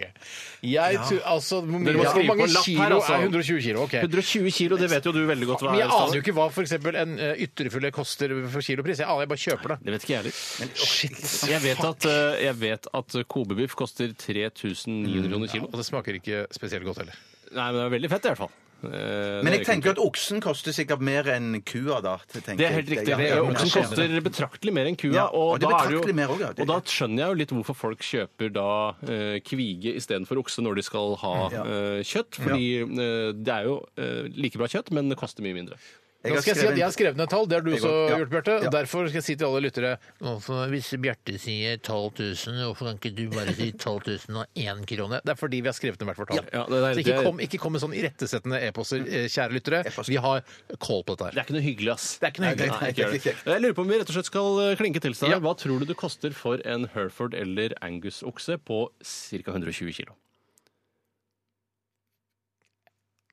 Jeg tror, altså, hvor, mye, Dere må ja, hvor skrive på mange en lapp kilo her, altså. er 120 kilo? Ok. 120 kilo, det vet jo du veldig godt hva Men jeg er. aner jo Steinar. ikke hva for eksempel en eh, ytrefilet koster for kilopris. Jeg aner, jeg bare kjøper det. Det vet ikke jeg heller. Jeg vet at, eh, jeg vet at kobebiff koster 3900 kroner kilo. Og det smaker ikke spesielt godt heller. Nei, men det er veldig fett i hvert fall. Men jeg tenker at oksen koster sikkert mer enn kua, da. tenker Det er helt jeg. riktig. Ja, ja, ja. Oksen koster betraktelig mer enn kua. Ja, og, og det er da er det jo, betraktelig mer også, ja. og da skjønner jeg jo litt hvorfor folk kjøper da eh, kvige istedenfor okse når de skal ha eh, kjøtt. Fordi eh, det er jo eh, like bra kjøtt, men det koster mye mindre. Da skal jeg si at jeg har skrevet ned tall. Det har du også går- ja. gjort, Bjarte. Ja. Derfor skal jeg si til alle lyttere hvorfor- Hvis Bjarte sier 12 000, hvorfor kan ikke du bare si 12 000 og én krone? Det er fordi vi har skrevet ned hvert vårt tall. Ja, det er- Så ikke det er- kom, ikke kom med sånn irettesettende e-poster, eh, kjære lyttere. Vi har kål på dette her. Det er ikke noe hyggelig, ass. Det er ikke noe hyggelig. Nei, ikke gjør det. Jeg lurer på om vi rett og slett skal eh, klinke til Steinar. Ja. Hva tror du det koster for en Herford eller Angus-okse på ca. 120 kilo?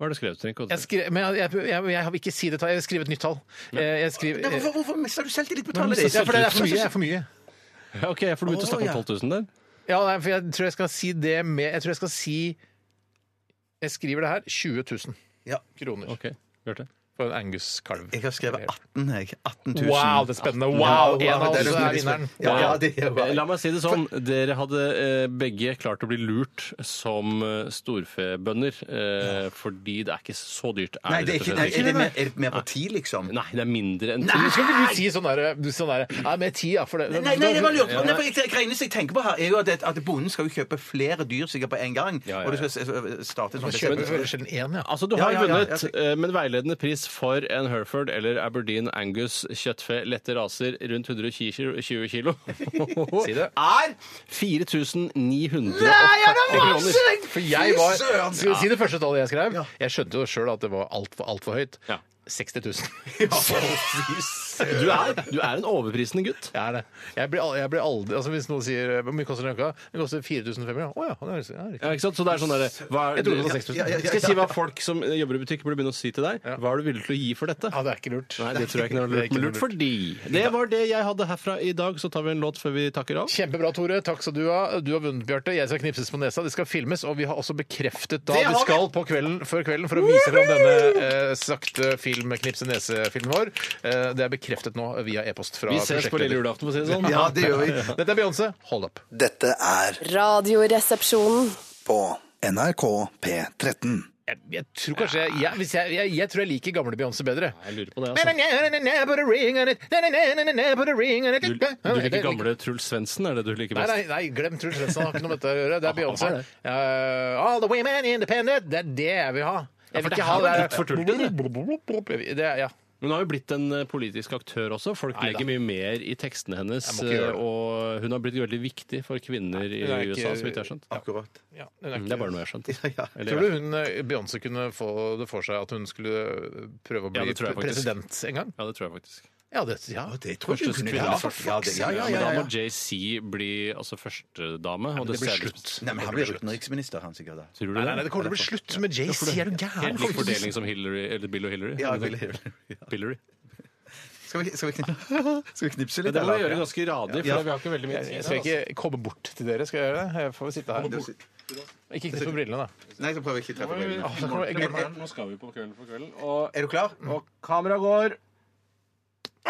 Hva har du skrevet? Trenger ikke å- Jeg, skrev, men jeg, jeg, jeg, jeg vil ikke si det tallet. Jeg vil skrive et nytt tall. Eh, Jeg skriver, Men eh, Hvorfor, hvorfor mister du selvtillit ja, på for tallet det ditt? er for mye. Det er for mye. Ja, OK, for du begynte å snakke om 12 000 der. Ja, nei, for jeg tror jeg skal si det med Jeg tror jeg skal si Jeg skriver det her 20 000 Ja. kroner Ok, Bjarte. for en Angus-kalv. Jeg har skrevet 18, jeg. 18 000. Wow, det er spennende! Wow! Ja, En av det oss veldig er vinneren. spennende. Ja, ja, det er La bra. meg si det sånn, dere hadde eh, begge klart å bli lurt som eh, storfebønder, eh, fordi det er ikke så dyrt. Er Nei, det er ikke, rett og slett nei, er det mer, er det mer parti, liksom? Nei, det er mindre enn Du skal ikke du si sånn derre sånn der, Nei, med ti, ja. For det, Nei, nei, det var lurt. Nei, for jeg- det eneste jeg tenker på her, er jo at, at bonden skal jo kjøpe flere dyr sikkert på en gang. Ja, ja, ja. Og du skal s- starte en Du sånn kjøper veldig sjelden én, ja. Altså, du Ja, har ja, ja, vunnet, jeg eh, men veiledende pris for en Herford eller Aberdeen Angus kjøttfe lette raser rundt 120 kilo, 20 kilo Si det. Ah, er 4980 For jeg var Fy søren! Skal vi si det første tallet jeg skrev? Jeg skjønte jo sjøl at det var altfor, altfor høyt. Ja. 60 000. Du er, du er en overprisende gutt. Jeg er det. Jeg blir, al- jeg blir aldri altså Hvis noen sier Hvor mye koster den øka? Den koster 4500. Å ja. Det er, ja, riktig. Ja, ikke sant? Så det er sånn der, hva er, Jeg trodde det var 6000. Ja, ja, ja, ja. Skal jeg si hva folk som eh, jobber i butikk burde begynne å si til deg? Hva er du villig til å gi for dette? ja, det er ikke lurt. Nei, det tror jeg ikke Ah, Det er er lurt. lurt. Fordi Det var det jeg hadde herfra i dag. Så tar vi en låt før vi takker av. Kjempebra, Tore. Takk skal du ha. Du har vunnet, Bjarte. Jeg skal knipses på nesa. Det skal filmes, og vi har også bekreftet da Det har du vi! skal på kvelden før kvelden for å vise fram denne eh, sakte film knipse-nese-filmen vår. Eh, det er bekreftet nå via e-post fra Vi ses på prosjektleder. lille julaften, for å si det sånn. Ja, det gjør vi. Dette er Beyoncé. Hold up. Dette er Radioresepsjonen. på NRK P13. Jeg, jeg tror kanskje jeg, jeg, hvis jeg, jeg, jeg tror jeg liker gamle Beyoncé bedre. Jeg lurer på det, Put altså. a ring on it. Put a ring on it. Du, du liker gamle Truls Svendsen, er det du liker Nei, best? nei, nei, glem Truls Svendsen. Han har ikke noe med dette å gjøre. Det er Han har Beyoncé. det. Eh, all the women independent. Det er det jeg vil ha. Jeg for vil det ikke ha det her var litt for der det, er- ja. Men hun har jo blitt en eh, politisk aktør også. Folk Neida. legger mye mer i tekstene hennes. Jeg må ikke gjøre det. eh, Og hun har blitt veldig viktig for kvinner i hun er ikke- USA, så vidt jeg har skjønt. Mm, Akkurat. ja den Mm, er Det er ikke- bare noe jeg har skjønt. Ja. Eller, Tror du hun, eh, Beyoncé kunne få det for seg at hun skulle eh, prøve å bli Ja, det tror jeg faktisk. president en gang? Ja, det tror jeg faktisk. Ja, det, ja. Det tror jeg du kunne kvinne ja, for ja, det- ja, ja, Men ja, da ja. må JC bli altså førstedame. Og det, blir ser ut- slutt. Nei, men han blir utenriksminister, han sikkert. da. Tror du Nei, det? nei, nei, det kommer til å bli slutt med Jay-Z. Er du gæren? Helt lik fordeling som Hillary, eller Bill og Hillary. Ja, Bill og Hillary. Hillary. Skal vi, skal vi, knipse, skal vi knipse litt? Det må vi eller? gjøre ganske radig, for Ja. vi har ikke veldig mye Jeg tid. skal ikke komme bort til dere, skal jeg gjøre det? Jeg får vel sitte her. Ikke knips med brillene, da. Nei, så prøver vi ikke å treffe brillene. Åh, så kommer det- jeg glemmer den. Nå skal vi på Kvelden for kvelden. Og, Er du klar? og kameraet Eh, går.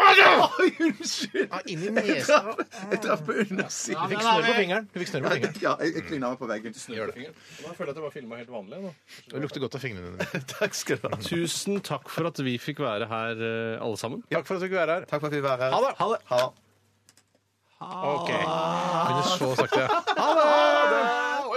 Oi, unnskyld! Ah, Inn i nesa. traff- Jeg traff på undersiden. Du fikk snørr på fingeren. Du fikk snørr på fingeren. Ja, jeg, jeg klina meg på veggen. Gjør det. Nå føler jeg at jeg bare filma helt vanlig. Nå. Det lukter godt av fingrene dine. Takk skal du ha. Tusen takk for at vi fikk være her, eh, alle sammen. Takk for at du fikk være her. Takk for at vi var her. Ha det. Ha det. Ha det. Ok. Begynner så sakte.